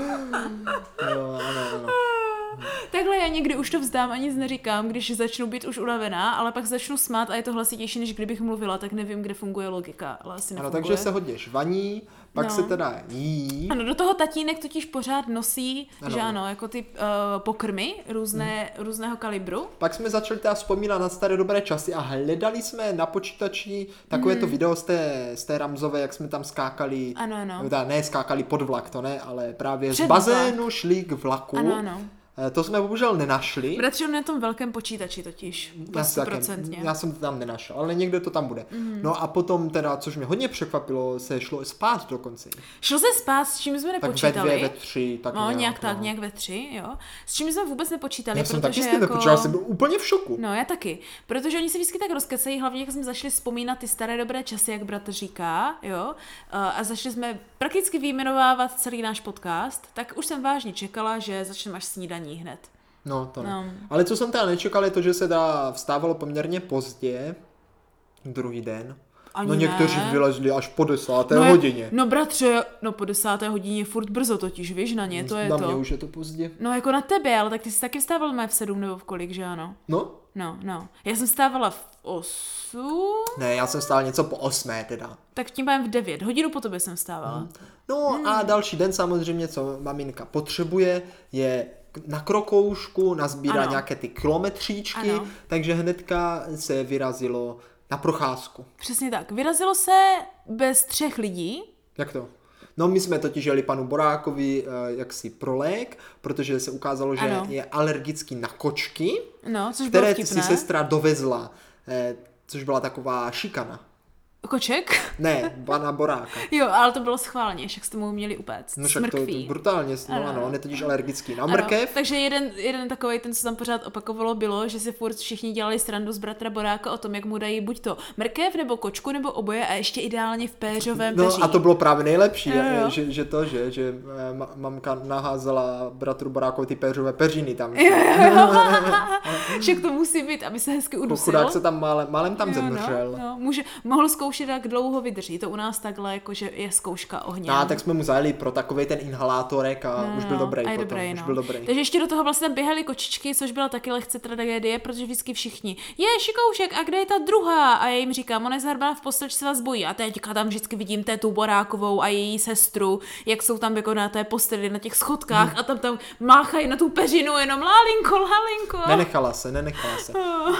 S1: Jo, ano, ano.
S2: Takhle já někdy už to vzdám a nic neříkám, když začnu být už unavená, ale pak začnu smát a je to hlasitější, než kdybych mluvila, tak nevím, kde funguje logika, ale asi
S1: ano
S2: nefunguje.
S1: takže se hodně žvaní, pak
S2: No.
S1: se teda jí.
S2: Ano, do toho tatínek totiž pořád nosí,
S1: Ano.
S2: ano. že ano, jako ty uh, pokrmy různé, hmm. různého kalibru.
S1: Pak jsme začali teda vzpomínat na staré dobré časy a hledali jsme na počítači takové to video z té, z té Ramzové, jak jsme tam skákali,
S2: Mhm. Ano, ano.
S1: nebo Teda ne skákali pod vlak, to ne, ale právě
S2: Před
S1: z bazénu šli k vlaku.
S2: Ano, ano.
S1: Eh, To jsme bohužel nenašli.
S2: Bratře, on je na tom velkém počítači totiž,
S1: Já, si také,
S2: stoprocentně.
S1: já jsem to tam nenašel, ale někde to tam bude.
S2: Mhm.
S1: Mm. No a potom teda, což mě hodně překvapilo, se šlo spát dokonce.
S2: Šlo se spát, s čím jsme
S1: Tak ve
S2: nepočítali.
S1: dvě, ve tři, tak
S2: No,
S1: nějak.
S2: nějak tak,
S1: no.
S2: nějak ve tři, jo. S čím jsme vůbec nepočítali,
S1: Já
S2: protože
S1: jsem taky s tím
S2: jako...
S1: nepočítal, jsem byl úplně v šoku.
S2: No, já taky. Protože oni se vždycky tak rozkecají, hlavně jak jsme začali vzpomínat ty staré dobré časy, jak bratr říká, jo, a a začali jsme prakticky vyjmenovávat celý náš podcast, tak už jsem vážně čekala, že začneme až snídaní hned.
S1: No, to ne.
S2: No.
S1: Ale co jsem teda nečekal, je to, že se dá vstávalo poměrně pozdě, druhý den.
S2: Ani
S1: no někteří
S2: ne.
S1: vylezli až po desáté
S2: no,
S1: hodině.
S2: No bratře, no po desáté hodině je furt brzo totiž, víš, na ně, to je
S1: Na
S2: to.
S1: mě už je to pozdě.
S2: No jako na tebe, ale tak ty jsi taky vstával mé v sedm nebo v kolik, že ano?
S1: No,
S2: No, no. Já jsem vstávala v osm,
S1: ne, já jsem stál něco po osmé teda.
S2: tak tím pádem v devět. Hodinu po tobě jsem vstávala.
S1: No
S2: Hmm.
S1: a další den samozřejmě, co maminka potřebuje, je k- na krokoušku, nazbírá
S2: Ano.
S1: nějaké ty kilometříčky,
S2: Ano.
S1: takže hnedka se vyrazilo na procházku.
S2: Přesně tak. Vyrazilo se bez třech lidí.
S1: Jak to? No my jsme totiž jeli panu Borákovi eh, jaksi prolék, protože se ukázalo, že
S2: Ano.
S1: je alergický na kočky,
S2: No, což bylo
S1: které si
S2: vtipné.
S1: sestra dovezla, eh, což byla taková šikana.
S2: Koček?
S1: Ne, pana Boráka.
S2: Jo, ale to bylo schválně, však jste mu měli upéct.
S1: No
S2: No,
S1: však to, to
S2: Smrkví.
S1: brutálně, no ano,
S2: Ano.
S1: ano on je totiž alergický na mrkev,
S2: Ano, takže jeden, jeden takový, ten, co tam pořád opakovalo, bylo, že si furt všichni dělali srandu z bratra Boráka o tom, jak mu dají buď to mrkev, nebo kočku, nebo oboje a ještě ideálně v péřovém
S1: No
S2: peří.
S1: a to bylo právě nejlepší, eh,
S2: Jo, jo.
S1: Že, že to, že, že eh, ma- mamka naházela bratru Barákovi ty péřové peřiny tam.
S2: Však to musí být, aby se hezky udusil.
S1: Chudák se tam málem, málem tam zemřel.
S2: No, no, může, mohl zkoušet zkoušet, jak dlouho vydrží. To u nás takhle jakože je zkouška ohně.
S1: No, tak jsme mu zajeli pro takový ten inhalátorek a
S2: No,
S1: už byl
S2: no,
S1: dobrý
S2: a je
S1: potom,
S2: dobrý,
S1: už
S2: no.
S1: byl dobrý.
S2: Takže ještě do toho vlastně tam běhaly kočičky, což byla taky lehce tragédie, protože vždycky všichni, je šikoušek, a kde je ta druhá? A já jim říkám, ona je zahrbaná v postelčce vás bojí. A teďka tam vždycky vidím té tu Borákovou a její sestru, jak jsou tam jako na té posteli, na těch
S1: Hmm.
S2: schodkách a tam tam máchají na tu peřinu jenom lálinko, lálinko.
S1: Nenechala se, nenechala se.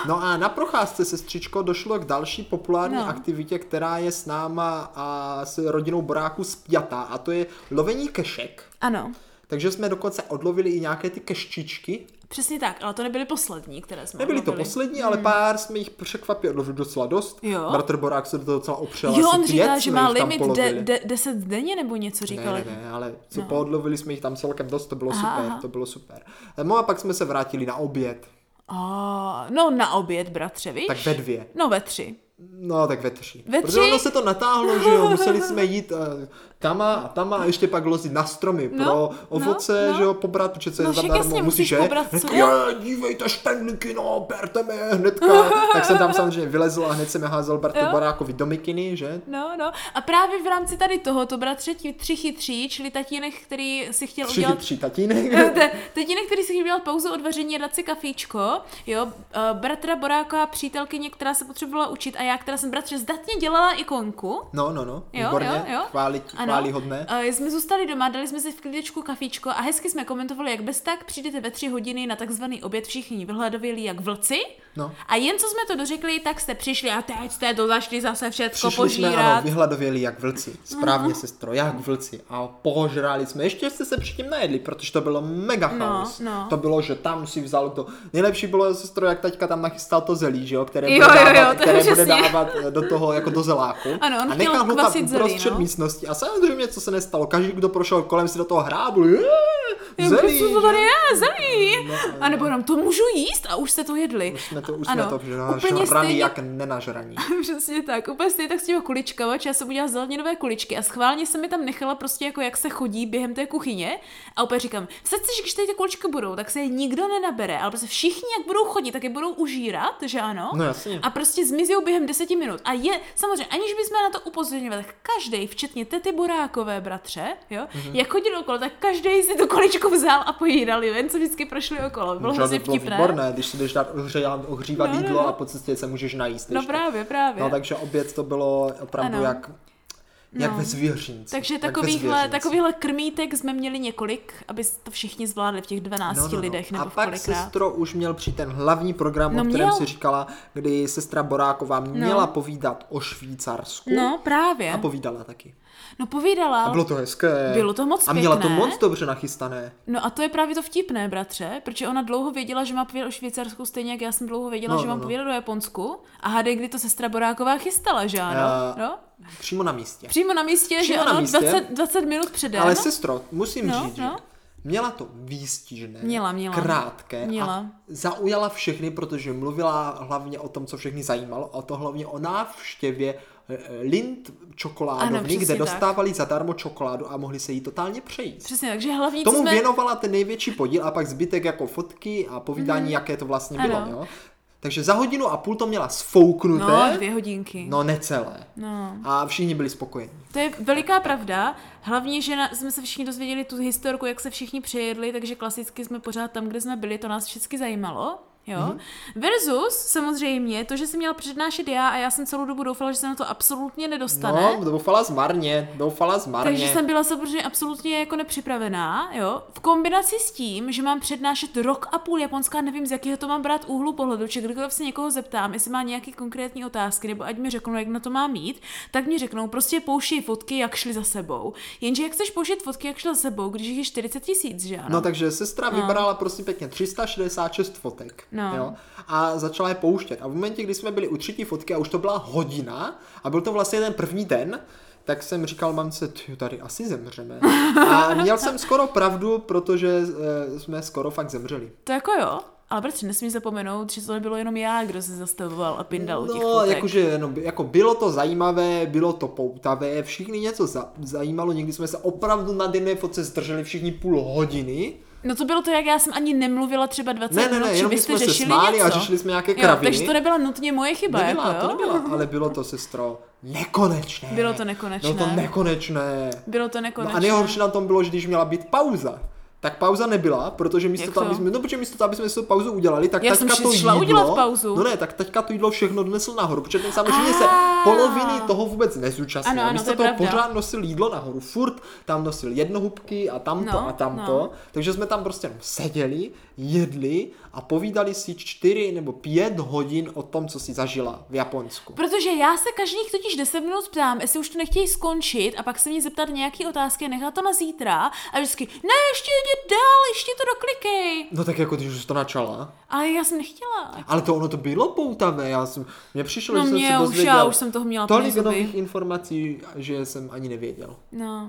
S1: No a na procházce, sestřičko, došlo k další populární
S2: No.
S1: aktivitě, která je s náma a s rodinou Boráku spjatá, a to je lovení kešek.
S2: Ano,
S1: Takže jsme dokonce odlovili i nějaké ty keštičky.
S2: přesně tak, ale to nebyly poslední, které jsme
S1: Nebyly to
S2: No, odlovili. Hmm.
S1: poslední, ale pár jsme jich překvapili odlovili docela dost.
S2: Jo.
S1: Bratr Borák se do toho docela opřel.
S2: Jo,
S1: asi
S2: on
S1: pět
S2: říkal, že
S1: jsme
S2: má
S1: jich tam
S2: limit de,
S1: polovili.
S2: de, 10 denně nebo něco
S1: Ne,
S2: říkal.
S1: ne, ne, ale co no. poodlovili jsme jich tam celkem dost, to bylo aha, super,
S2: aha.
S1: to bylo super. No a pak jsme se vrátili na oběd,
S2: A, no na oběd, bratře, víš?
S1: tak ve dvě.
S2: No ve tři.
S1: No, tak ve tři.
S2: Ve
S1: Protože
S2: tři?
S1: ono se to natáhlo, že jo, museli jsme jít eh, tama a tama a ještě pak lozit na stromy pro
S2: No, no,
S1: ovoce,
S2: no.
S1: že jo, pobrat, protože co je
S2: No, však
S1: zadarmo,
S2: jasně,
S1: musíš,
S2: musíš
S1: že?
S2: pobrat, co
S1: Hnedka,
S2: jo.
S1: "Je, dívejte, špendlíky, no, berte mi je hnedka. tak jsem tam samozřejmě vylezl a hned jsem je házel Bartu
S2: Jo.
S1: Barákovi do mikiny, že?
S2: No, no. A právě v rámci tady toho to bratře tři, tři chytří, čili tatínek, který si chtěl
S1: Tři
S2: udělat...
S1: chytří tatínek.
S2: Te- Tatínek, který si chtěl udělat pauzu od vaření a dát si kafíčko, jo, eh, bratra Boráka, přítelkyně, která se potřebovala učit a já, která jsem bratře zdatně dělala ikonku,
S1: No, no, no,
S2: Jo,
S1: výborně,
S2: jo, jo.
S1: Chváli, chváli hodné.
S2: Eh, jsme zůstali doma, dali jsme si v klidečku kafíčko a hezky jsme komentovali, jak bez tak přijdete ve tři hodiny na takzvaný oběd všichni vyhladovělí jak vlci.
S1: No.
S2: A jen co jsme to dořekli, tak jste přišli a teď jste to zašli zase všecko
S1: Přišli jsme, ano,
S2: požírat.
S1: vyhladověli jak vlci. Správně, sestro, jak vlci. A požrali jsme. Ještě jste se předtím najedli, protože to bylo mega
S2: No,
S1: chaos.
S2: no.
S1: To bylo, že tam si vzal to. Nejlepší bylo, sestro, jak taťka tam nachystal to zelí, že jo, které
S2: Jo,
S1: bude
S2: jo, jo,
S1: dávat,
S2: to
S1: které
S2: přesně.
S1: bude dávat eh, do toho, jako do zeláku.
S2: Ano, on
S1: a
S2: chtěl
S1: nechal ho tam
S2: kvasit zelí,
S1: uprostřed
S2: no.
S1: místnosti. A samozřejmě, co se nestalo. Každý, kdo prošel kolem, si do toho hrábl. "Je,
S2: Jo,
S1: Zelí.
S2: prostě to
S1: že?"
S2: tady je, zelí.
S1: No,
S2: A nebo nám to můžu jíst a už jste to jedli.
S1: Už jsme to, už
S2: ano,
S1: jsme to
S2: úplně
S1: žrali
S2: stejně-
S1: jak nenažraní.
S2: Přesně tak, úplně stejně tak s těma kuličkama, že já jsem udělala zeleninové kuličky a schválně jsem mi tam nechala prostě jako jak se chodí během té kuchyně a úplně říkám, vsadce, že když tady ty kuličky budou, tak se je nikdo nenabere, ale prostě všichni jak budou chodit, tak je budou užírat, že ano?
S1: No jasně.
S2: A prostě zmizí během deseti minut. A je, samozřejmě, aniž bychom na to upozorňovali, tak každý, včetně tety Borákové bratře, jo,
S1: Mhm.
S2: mm-hmm. jak chodil okolo, tak každý si to količko vzal a pojídali ven, co vždycky prošli okolo. Bylo
S1: Že
S2: hrozně
S1: by bylo
S2: vtipné.
S1: výborné, když si jdeš dát ohřívá- ohřívat
S2: No, no,
S1: jídlo
S2: no.
S1: a po cestě se můžeš najíst.
S2: No
S1: ještě.
S2: právě, právě.
S1: No takže oběd to bylo opravdu
S2: Ano.
S1: jak, jak
S2: No.
S1: ve zvěřinci.
S2: Takže
S1: jak ve
S2: takovýchhle,
S1: zvěřinci.
S2: takovýchhle krmítek jsme měli několik, aby to všichni zvládli v těch 12 no, no, no. lidech nebo
S1: A
S2: v
S1: pak
S2: kolikrát.
S1: sestro už měl při ten hlavní program,
S2: No,
S1: o kterém
S2: měl.
S1: si říkala, kdy sestra Boráková měla povídat o Švýcarsku.
S2: No právě.
S1: A povídala taky.
S2: No povídala.
S1: A bylo to hezké.
S2: Bylo to moc
S1: A měla to
S2: pěkné.
S1: moc dobře nachystané.
S2: No a to je právě to vtipné, bratře, protože ona dlouho věděla, že má povídat o Švýcarsku, stejně jak já jsem dlouho věděla,
S1: No,
S2: no, že
S1: no,
S2: mám
S1: no.
S2: no. povídat o Japonsku. A hádej, kdy to sestra Boráková chystala, že ano?
S1: Eh,
S2: Uh, no?
S1: Přímo na místě.
S2: Přímo na místě,
S1: přímo
S2: že
S1: na
S2: ano,
S1: místě.
S2: 20, 20 minut předem.
S1: Ale sestro, musím
S2: No,
S1: říct,
S2: no.
S1: že měla to výstižné,
S2: Měla, měla.
S1: krátké a
S2: Měla.
S1: zaujala všechny, protože mluvila hlavně o tom, co všechny zajímalo, a to hlavně o návštěvě eh, Lind
S2: Ano,
S1: čokoládovny,
S2: přesně
S1: kde
S2: tak.
S1: dostávali zadarmo čokoládu a mohli se jí totálně přejít.
S2: Přesně, takže hlavní,
S1: Tomu
S2: co jsme...
S1: věnovala ten největší podíl a pak zbytek jako fotky a povídání, jaké to vlastně bylo.
S2: Mhm. Ano.
S1: Jo? Takže za hodinu a půl to měla sfouknuté,
S2: No, dvě hodinky.
S1: no necelé.
S2: no.
S1: A všichni byli spokojení.
S2: To je veliká pravda. Hlavně, že na, jsme se všichni dozvěděli tu historku, jak se všichni přejedli, takže klasicky jsme pořád tam, kde jsme byli, to nás všichni zajímalo. Jo? Mm-hmm. Versus samozřejmě to, že jsem měla přednášet já a já jsem celou dobu doufala, že se na to absolutně nedostane.
S1: No, doufala zmarně, doufala zmarně.
S2: Takže jsem byla samozřejmě absolutně jako nepřipravená, jo. V kombinaci s tím, že mám přednášet rok a půl Japonska, nevím, z jakého to mám brát úhlu pohledu, či kdykoliv se někoho zeptám, jestli má nějaké konkrétní otázky, nebo ať mi řeknou, jak na to mám mít, tak mi řeknou, prostě pouštěj fotky, jak šli za sebou. Jenže jak chceš pouštět fotky, jak šli za sebou, když jich je 40 tisíc, že ano?
S1: No takže sestra vybrala prostě pěkně 366 fotek
S2: No.
S1: jo, a začala je pouštět. A v momentě, kdy jsme byli u třetí fotky a už to byla hodina a byl to vlastně ten první den, tak jsem říkal mamce, ty tady asi zemřeme. A měl jsem skoro pravdu, protože e, jsme skoro fakt zemřeli.
S2: To jako jo. Ale bratře, nesmí zapomenout, že to nebylo jenom já, kdo se zastavoval a pindal u těch
S1: No,
S2: fotek.
S1: jakože, no, jako bylo to zajímavé, bylo to poutavé, všichni něco za, zajímalo, někdy jsme se opravdu na jedné fotce zdrželi všichni půl hodiny.
S2: No to bylo to, jak já jsem ani nemluvila třeba 20
S1: Ne, ne,
S2: minut,
S1: ne,
S2: že
S1: jenom
S2: vy
S1: my
S2: jste
S1: jsme se
S2: řešili
S1: smáli
S2: něco.
S1: a řešili jsme nějaké
S2: Jo,
S1: kraviny.
S2: takže to nebyla nutně moje chyba,
S1: Nebyla,
S2: jako, jo?
S1: to nebyla, ale bylo to, sestro. nekonečné.
S2: Bylo to nekonečné.
S1: Bylo to nekonečné.
S2: Bylo to
S1: No
S2: nekonečné.
S1: a nejhorší na tom bylo, že když měla být pauza, tak pauza nebyla, protože místo
S2: Jak
S1: toho,
S2: to?
S1: aby jsme, no protože místo toho, aby jsme si tu pauzu udělali, tak
S2: Já jsem
S1: taťka
S2: si
S1: to
S2: šla
S1: jídlo,
S2: udělat pauzu.
S1: no ne, tak taťka to jídlo všechno donesl nahoru, protože ten samozřejmě se
S2: Ah.
S1: poloviny toho vůbec nezúčastnil.
S2: Ano, ano,
S1: místo
S2: to je
S1: toho
S2: pravda.
S1: pořád nosil jídlo nahoru, furt tam nosil jednohubky a tamto
S2: No,
S1: a tamto,
S2: no.
S1: takže jsme tam prostě jenom seděli, jedli a povídali si čtyři nebo pět hodin o tom, co si zažila v Japonsku.
S2: Protože já se každých totiž 10 minut ptám, jestli už to nechtějí skončit a pak se mě zeptat nějaký otázky a nechat to na zítra a vždycky, ne, ještě jdi dál, ještě to doklikej.
S1: No tak jako když už to načala.
S2: Ale já jsem nechtěla.
S1: Ale to ono to bylo poutavé, já jsem, mě přišlo,
S2: No
S1: že
S2: mě
S1: jsem se
S2: už,
S1: dozvěděl
S2: já už jsem toho měla plný
S1: tolik
S2: zuby.
S1: nových informací, že jsem ani nevěděl. No,
S2: No,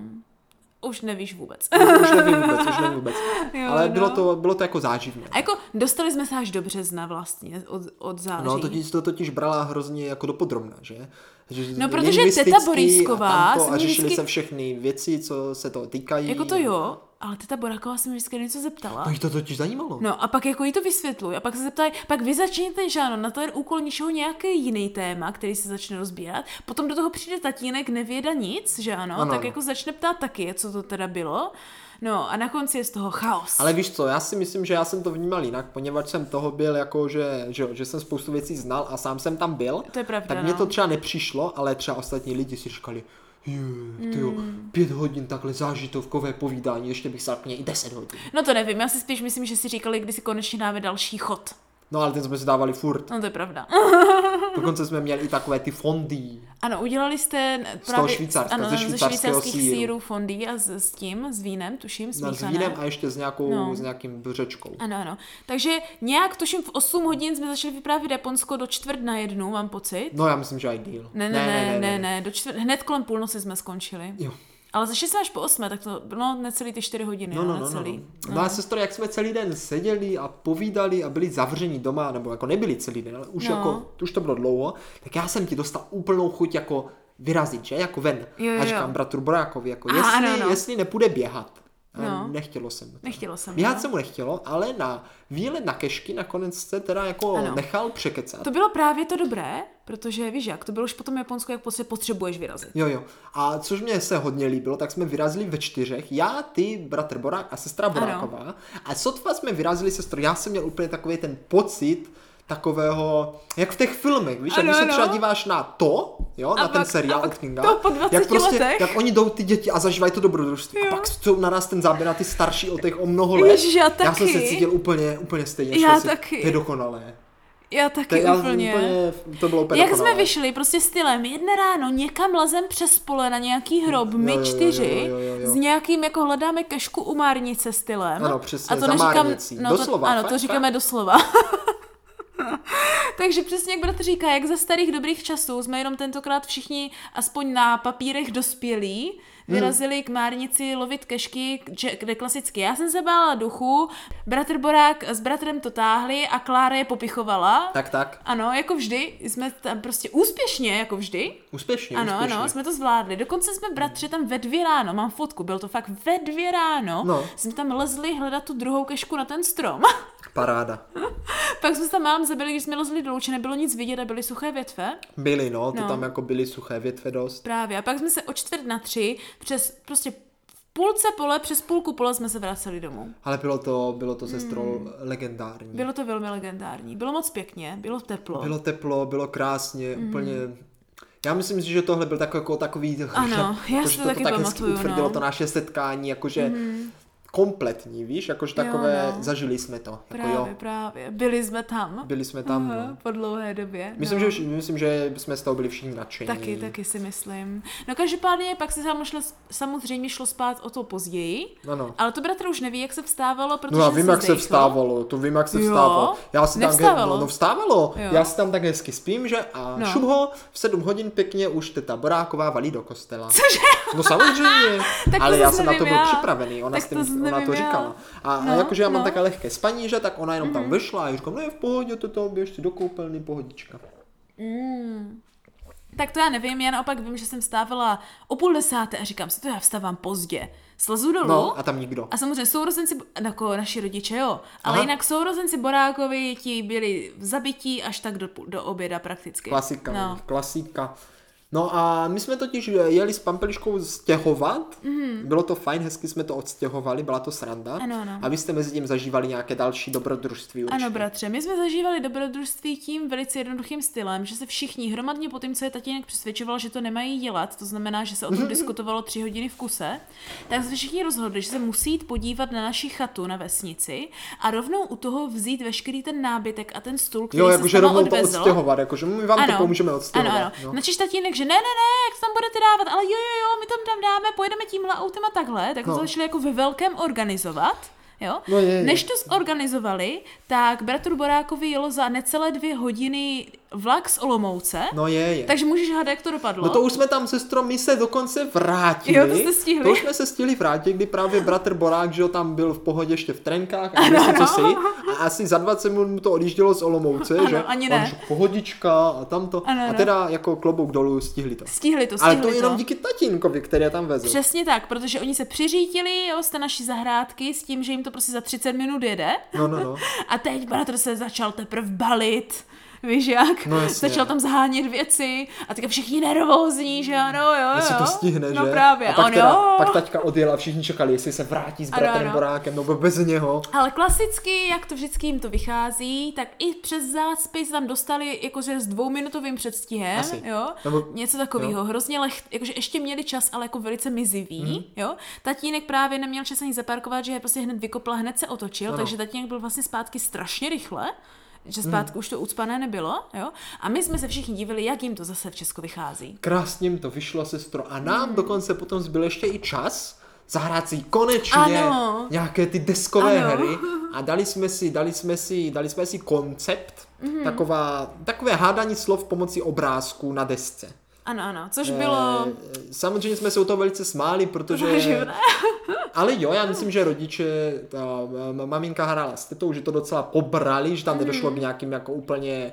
S2: už nevíš vůbec.
S1: Už nevím vůbec, už nevím vůbec.
S2: Jo,
S1: Ale
S2: no.
S1: bylo to, bylo to jako záživné.
S2: A jako dostali jsme se až do března vlastně, od, od září.
S1: No, totiž to totiž brala hrozně jako dopodrobna, že? že
S2: No, protože
S1: lingvistický
S2: teta Borisková
S1: a,
S2: se
S1: tamto, a
S2: mě
S1: řešili
S2: vždycky-
S1: se všechny věci, co se toho týkají.
S2: Jako to jo, ale teta Boraková se mi vždycky něco zeptala.
S1: No, jí to totiž zajímalo.
S2: No a pak jako jí to vysvětluj a pak se zeptají, pak vy začněte, že ano, na ten úkol něčeho nějaký jiný téma, který se začne rozbírat, potom do toho přijde tatínek, nevěda nic, že ano,
S1: Ano,
S2: tak
S1: ano.
S2: jako začne ptát taky, co to teda bylo, no a na konci je z toho chaos.
S1: Ale víš co, já si myslím, že já jsem to vnímal jinak, poněvadž jsem toho byl jako, že, že, jo, že jsem spoustu věcí znal a sám jsem tam byl.
S2: To je pravda,
S1: Tak mě
S2: no.
S1: to třeba nepřišlo, ale třeba ostatní lidi si říkali, ty jo,
S2: Hmm.
S1: pět hodin takhle zážitovkové povídání, ještě bych sal i deset hodin.
S2: No to nevím, já si spíš myslím, že si říkali, kdy si konečně dáme další chod.
S1: No ale ten jsme si dávali furt.
S2: No to je pravda.
S1: Dokonce jsme měli i takové ty fondy.
S2: Ano, udělali jste n-
S1: toho
S2: právě
S1: Švýcarska,
S2: ano,
S1: ze švýcarského
S2: švýcarských
S1: sýru.
S2: sírů fondy a s, s tím, s vínem, tuším,
S1: No, s
S2: smíchané.
S1: vínem a ještě s, nějakou,
S2: No.
S1: s nějakým břečkou.
S2: Ano, ano. Takže nějak, tuším, v 8 hodin jsme začali vyprávět Japonsko do čtvrt na jednu, mám pocit.
S1: No já myslím, že i díl.
S2: Ne, ne, ne, ne, ne, ne. Do čtvrt, hned kolem půlnoci jsme skončili.
S1: Jo.
S2: Ale ze 6 až po 8, tak to bylo necelý ty 4 hodiny.
S1: No,
S2: jo,
S1: no, no, no.
S2: necelý.
S1: no. a sestro, jak jsme celý den seděli a povídali a byli zavřeni doma, nebo jako nebyli celý den, ale už,
S2: No.
S1: no. jako, už to bylo dlouho, tak já jsem ti dostal úplnou chuť jako vyrazit, že? Jako ven.
S2: Jo, jo,
S1: a říkám
S2: jo.
S1: bratru Borákovi, jako
S2: Aha,
S1: jestli,
S2: ano, no.
S1: jestli nepůjde běhat. A
S2: No.
S1: Nechtělo se mu. to.
S2: Nechtělo se mu,
S1: Běhat
S2: no.
S1: se mu nechtělo, ale na výlet na kešky nakonec se teda jako
S2: Ano.
S1: ano. nechal překecat.
S2: To bylo právě to dobré, protože víš jak, to bylo už potom Japonsko, jak prostě potřebuješ vyrazit.
S1: Jo, jo. A což mě se hodně líbilo, tak jsme vyrazili ve čtyřech. Já, ty, bratr Borák a sestra Boráková. Ano. A sotva jsme vyrazili sestru. Já jsem měl úplně takový ten pocit takového, jak v těch filmech, víš, jak
S2: Ano,
S1: když se
S2: ano.
S1: třeba díváš na to, jo, na ten
S2: pak- a
S1: seriál
S2: pak
S1: od Kinga,
S2: to po 20
S1: jak prostě,
S2: letech.
S1: tak oni jdou ty děti a zažívají to dobrodružství
S2: Jo.
S1: a pak jsou na nás ten záběr na ty starší o těch o mnoho let.
S2: Ježiš, já
S1: já jsem se
S2: taky.
S1: cítil úplně, úplně stejně.
S2: Já
S1: šel jsem,
S2: taky.
S1: To je dokonalé.
S2: Já
S1: To,
S2: taky
S1: je- já,
S2: úplně.
S1: úplně, to bylo úplně jako no.
S2: Jak
S1: dokonalé.
S2: jsme vyšli, prostě stylem, jedne ráno někam lezem přes pole na nějaký hrob, my
S1: jo, jo,
S2: čtyři,
S1: jo, jo, jo.
S2: s nějakým, jako hledáme kešku u Márnice stylem.
S1: Ano, přesně,
S2: a
S1: za
S2: to neříkám,
S1: Márnicí.
S2: no,
S1: Doslova,
S2: to, ano,
S1: fakt,
S2: to
S1: fakt.
S2: říkáme doslova. Takže přesně jak bratr říká, jak za starých dobrých časů jsme jenom tentokrát všichni aspoň na papírech dospělí,
S1: Hmm.
S2: vyrazili k Márnici lovit kešky, že, kde klasicky já jsem se bála duchu, bratr Borák s bratrem to táhli a Klára je popichovala.
S1: Tak, tak.
S2: Ano, jako vždy, jsme tam prostě úspěšně, jako vždy.
S1: Úspěšně,
S2: Ano,
S1: úspěšně.
S2: ano, jsme to zvládli. Dokonce jsme bratře tam ve dvě ráno, mám fotku, bylo to fakt ve dvě ráno,
S1: No.
S2: jsme tam lezli hledat tu druhou kešku na ten strom.
S1: Paráda.
S2: Pak jsme se tam mám zabili, když jsme lezli dolů, že nebylo nic vidět a byly suché větve.
S1: Byly, no, ty
S2: No.
S1: tam jako byly suché větve dost.
S2: Právě. A pak jsme se o čtvrt na tři přes prostě v půlce pole, přes půlku pole jsme se vraceli domů.
S1: Ale bylo to, bylo to sestro mm. legendární. Bylo...
S2: Hmm. Bylo to velmi legendární. Bylo moc pěkně, bylo teplo.
S1: bylo teplo, bylo krásně,
S2: Hmm.
S1: mm. úplně... Já myslím si, že tohle byl takový, jako takový...
S2: Ano, já
S1: jakože
S2: si to taky
S1: tak
S2: pamatuju,
S1: hezky utvrdilo
S2: no. Hmm.
S1: to naše setkání, jakože mm. kompletní, víš, jakože
S2: Jo,
S1: takové,
S2: no.
S1: zažili jsme to, jako
S2: právě,
S1: jo.
S2: právě. Byli jsme tam.
S1: Byli jsme tam,
S2: Aha,
S1: no.
S2: po dlouhé době.
S1: Myslím,
S2: no.
S1: že, myslím, že jsme z toho byli všichni nadšení.
S2: Taky, taky si myslím. No každopádně pak se samo šlo, samozřejmě šlo spát o to později,
S1: Ano.
S2: ale to bratr už neví, jak se vstávalo, protože
S1: No já vím,
S2: se
S1: jak se
S2: zdejchlo.
S1: vstávalo, to vím, jak se
S2: Jo?
S1: vstávalo. Já si tam,
S2: Nevstávalo?
S1: no, no vstávalo,
S2: Jo.
S1: jo. já si tam tak hezky spím, že a no.
S2: No.
S1: šup ho, v 7 hodin pěkně už teta Boráková valí do kostela. Cože? No samozřejmě,
S2: Tak to
S1: ale já
S2: zase
S1: jsem na to
S2: nevím
S1: byl
S2: já.
S1: připravený, ona,
S2: Tak
S1: s
S2: to
S1: tím,
S2: zase
S1: ona to
S2: nevím já.
S1: říkala. A,
S2: No,
S1: a jakože já mám
S2: no. Mhm.
S1: také lehké spaní, že tak ona jenom tam vešla a já říkám, no je v pohodě, toto běž si do koupelny, pohodička.
S2: Tak to já nevím, já naopak vím, že jsem vstávala o půl desáté a říkám si, to já vstávám pozdě. Slezu dolů
S1: No a tam nikdo.
S2: a samozřejmě sourozenci, jako naši rodiče, jo, ale
S1: Aha.
S2: jinak sourozenci Borákovi ti byli v zabití až tak do, pů- do oběda prakticky.
S1: Klasika,
S2: No.
S1: klasika. No a my jsme totiž jeli s Pampeliškou stěhovat. Mm. Bylo to fajn, hezky jsme to odstěhovali, byla to sranda.
S2: Mhm. Ano, ano.
S1: A vy jste mezi tím zažívali nějaké další dobrodružství určitě.
S2: Ano, bratře, my jsme zažívali dobrodružství tím velice jednoduchým stylem, že se všichni hromadně po tom, co je tatínek přesvědčoval, že to nemají dělat, to znamená, že se o
S1: Mhm.
S2: tom diskutovalo tři hodiny v kuse, tak se všichni rozhodli, že se musí jít podívat na naši chatu na vesnici a rovnou u toho vzít veškerý ten nábytek a ten stůl, který
S1: Jo,
S2: se
S1: jakože
S2: sama
S1: rovnou to
S2: odvezl.
S1: odstěhovat, jakože my vám to pomůžeme odstěhovat.
S2: Ano, ano.
S1: No.
S2: No. Načež tatínek, že ne, ne, ne, jak to tam budete dávat, ale jo, jo, jo, my tam tam dáme, pojedeme tímhle autem a takhle, tak no.
S1: No.
S2: to začali jako ve velkém organizovat. Jo?
S1: No je, je.
S2: Než to zorganizovali, tak bratru Borákovi jelo za necelé dvě hodiny vlak z Olomouce,
S1: No je, je.
S2: takže můžeš hádat, jak to dopadlo.
S1: No to už jsme tam se stromy se dokonce vrátili.
S2: Jo, to jste stihli.
S1: To už jsme se stihli vrátit, kdy právě bratr Borák, že jo, tam byl v pohodě ještě v trenkách a nevím, co si. A asi za 20 minut mu to odjíždělo z Olomouce,
S2: Ano,
S1: že?
S2: ani
S1: A
S2: ne.
S1: už pohodička a tamto.
S2: Ano,
S1: a
S2: ano.
S1: teda jako klobouk dolů stihli to.
S2: Stihli to,
S1: Ale
S2: stihli
S1: to jenom
S2: to.
S1: díky tatínkovi, který je tam vezl.
S2: Přesně tak, protože oni se přiřítili jo, z té naší zahrádky s tím, že jim to prostě za 30 minut jede.
S1: No, no, no.
S2: A teď bratr se začal teprve balit, víš jak?
S1: No jasně.
S2: začal tam zhánět věci a teďka všichni nervózní, že ano, jo, jo.
S1: Jestli to stihne,
S2: no
S1: že?
S2: právě,
S1: a pak,
S2: ano.
S1: teda, pak taťka odjela, všichni čekali, jestli se vrátí s
S2: Ano,
S1: bratrem
S2: ano.
S1: Borákem, nebo bez něho.
S2: Ale klasicky, jak to vždycky jim to vychází, tak i přes zácpy se tam dostali jakože s dvouminutovým předstihem,
S1: Asi.
S2: jo?
S1: Nebo-
S2: Něco takového. Hrozně lecht, jakože ještě měli čas, ale jako velice mizivý,
S1: Mhm.
S2: jo? Tatínek právě neměl čas ani zaparkovat, že je prostě hned vykopl a hned se otočil,
S1: Ano. Mhm.
S2: takže tatínek byl vlastně zpátky strašně rychle že zpátky už to ucpané nebylo, jo? A my jsme se všichni divili, jak jim to zase v Česku vychází.
S1: Krásně jim to vyšlo, sestro. A nám
S2: Hmm.
S1: dokonce potom zbyl ještě i čas zahrát si konečně
S2: Ano.
S1: nějaké ty deskové
S2: Ano.
S1: hry. A dali jsme si, dali jsme si, dali jsme si koncept,
S2: Mhm.
S1: mm taková, takové hádání slov pomocí obrázků na desce.
S2: Ano, ano, což bylo...
S1: Eh, Samozřejmě jsme se u toho velice smáli, protože...
S2: Záživné.
S1: Ale jo, já myslím, že rodiče, ta m- maminka hrála s tetou, že to docela pobrali, že tam nedošlo
S2: Hmm.
S1: k nějakým jako úplně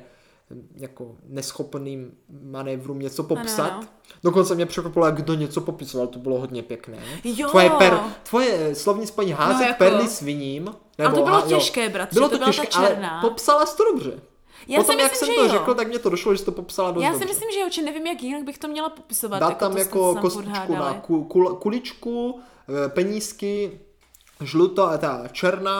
S1: hm, jako neschopným manévrům něco popsat.
S2: ano.
S1: Dokonce mě překvapilo, jak kdo něco popisoval, to bylo hodně pěkné.
S2: Jo.
S1: Tvoje, per, tvoje slovní spojení házet
S2: No
S1: no,
S2: jako.
S1: jako... perly sviním.
S2: Ale to bylo
S1: ha- jo.
S2: těžké, bratře,
S1: Bylo
S2: to
S1: to,
S2: byla ta
S1: těžké,
S2: černá.
S1: ale popsala jsi to dobře.
S2: Já si
S1: Potom, jak
S2: myslím,
S1: jsem
S2: že
S1: to
S2: jo.
S1: řekl, tak mě to došlo, že jsi to popsala dost
S2: Já si
S1: dobře.
S2: myslím, že jo, či nevím, jak jinak bych to měla popisovat.
S1: Dát tam
S2: to jste
S1: jako
S2: se tam
S1: kostičku na
S2: podhádali.
S1: ku, kul, kuličku, eh, penízky, žluto, eh, ta černá,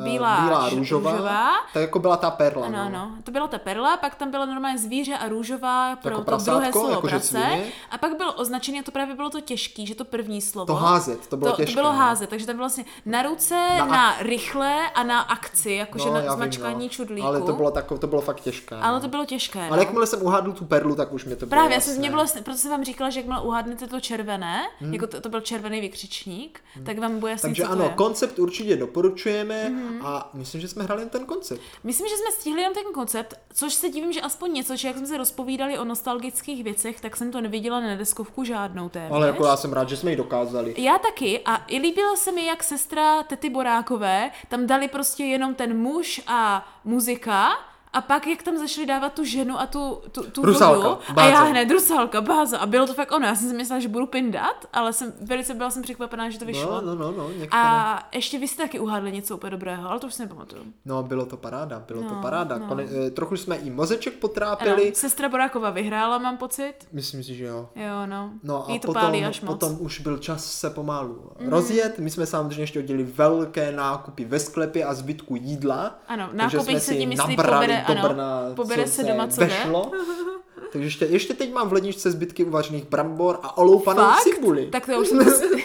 S1: eh,
S2: Bílá,
S1: bílá
S2: ž-
S1: růžová,
S2: růžová.
S1: tak jako byla ta perla.
S2: Ano,
S1: no.
S2: ano. To byla ta perla, pak tam byla normálně zvíře a růžová pro
S1: Jako
S2: to druhé
S1: prasátko,
S2: slovo
S1: jakože
S2: prase.
S1: svině.
S2: A pak bylo označené, to právě bylo to těžké, že to první slovo.
S1: To házet, to bylo
S2: to,
S1: těžké.
S2: to bylo
S1: no.
S2: házet, takže tam bylo vlastně na ruce, na,
S1: Na
S2: rychlé a na akci, jakože
S1: No,
S2: na
S1: já vím,
S2: zmačkání
S1: no.
S2: čudlíku.
S1: Ale to bylo, tako, to bylo fakt těžké.
S2: ale
S1: no.
S2: to bylo těžké.
S1: ale
S2: no.
S1: jakmile jsem uhádl tu perlu, tak už mě to bylo
S2: Právě, já
S1: jasné. Hmm.
S2: jsem, mě bylo, jasné- proto jsem vám říkala, že jakmile uhádnete to červené, jako to, to byl červený vykřičník, tak vám bude jasný,
S1: Takže
S2: co to
S1: ano,
S2: je. Mhm.
S1: koncept určitě doporučujeme a myslím, že jsme hráli jen ten koncept.
S2: Myslím, že jsme stihli jenom ten koncept, což se divím, že aspoň něco, či jak jsme se rozpovídali o nostalgických věcech, tak jsem to neviděla na deskovku žádnou téměř.
S1: Ale jako já jsem rád, že jsme ji dokázali.
S2: Já taky a i líbilo se mi, jak sestra Tety Borákové, tam dali prostě jenom ten muž a muzika, a pak, jak tam zašli dávat tu ženu a tu, tu, tu
S1: Rusalka,
S2: vodu, a
S1: báza.
S2: já hned, rusalka, báza. A bylo to fakt ono, já jsem si myslela, že budu pindat, ale jsem, velice byla jsem překvapená, že to
S1: No,
S2: vyšlo.
S1: no, no, no, některé.
S2: A ještě vy jste taky uhádli něco úplně dobrého, ale to už si nepamatuju.
S1: No, bylo to paráda, bylo
S2: No,
S1: to paráda.
S2: no.
S1: No. Kone, eh, trochu jsme i mozeček
S2: Ano,
S1: potrápili.
S2: sestra Boráková vyhrála, mám pocit.
S1: Myslím si, že jo.
S2: Jo, no.
S1: No
S2: Jí
S1: a
S2: to
S1: potom,
S2: pálí až moc. Mhm.
S1: potom už byl čas se pomalu mm. rozjet. My jsme samozřejmě ještě oddělili velké nákupy ve sklepě a zbytku jídla.
S2: Ano,
S1: takže
S2: nákupy
S1: jsme
S2: se tím,
S1: si
S2: myslí,
S1: nabrali
S2: pobere,
S1: do
S2: ano,
S1: Brna,
S2: pobere
S1: co
S2: se doma, co jde.
S1: vešlo. Takže ještě, ještě teď mám v ledničce zbytky uvařených brambor a oloupanou
S2: Fakt?
S1: cibuli.
S2: Tak to já už jsem to sni-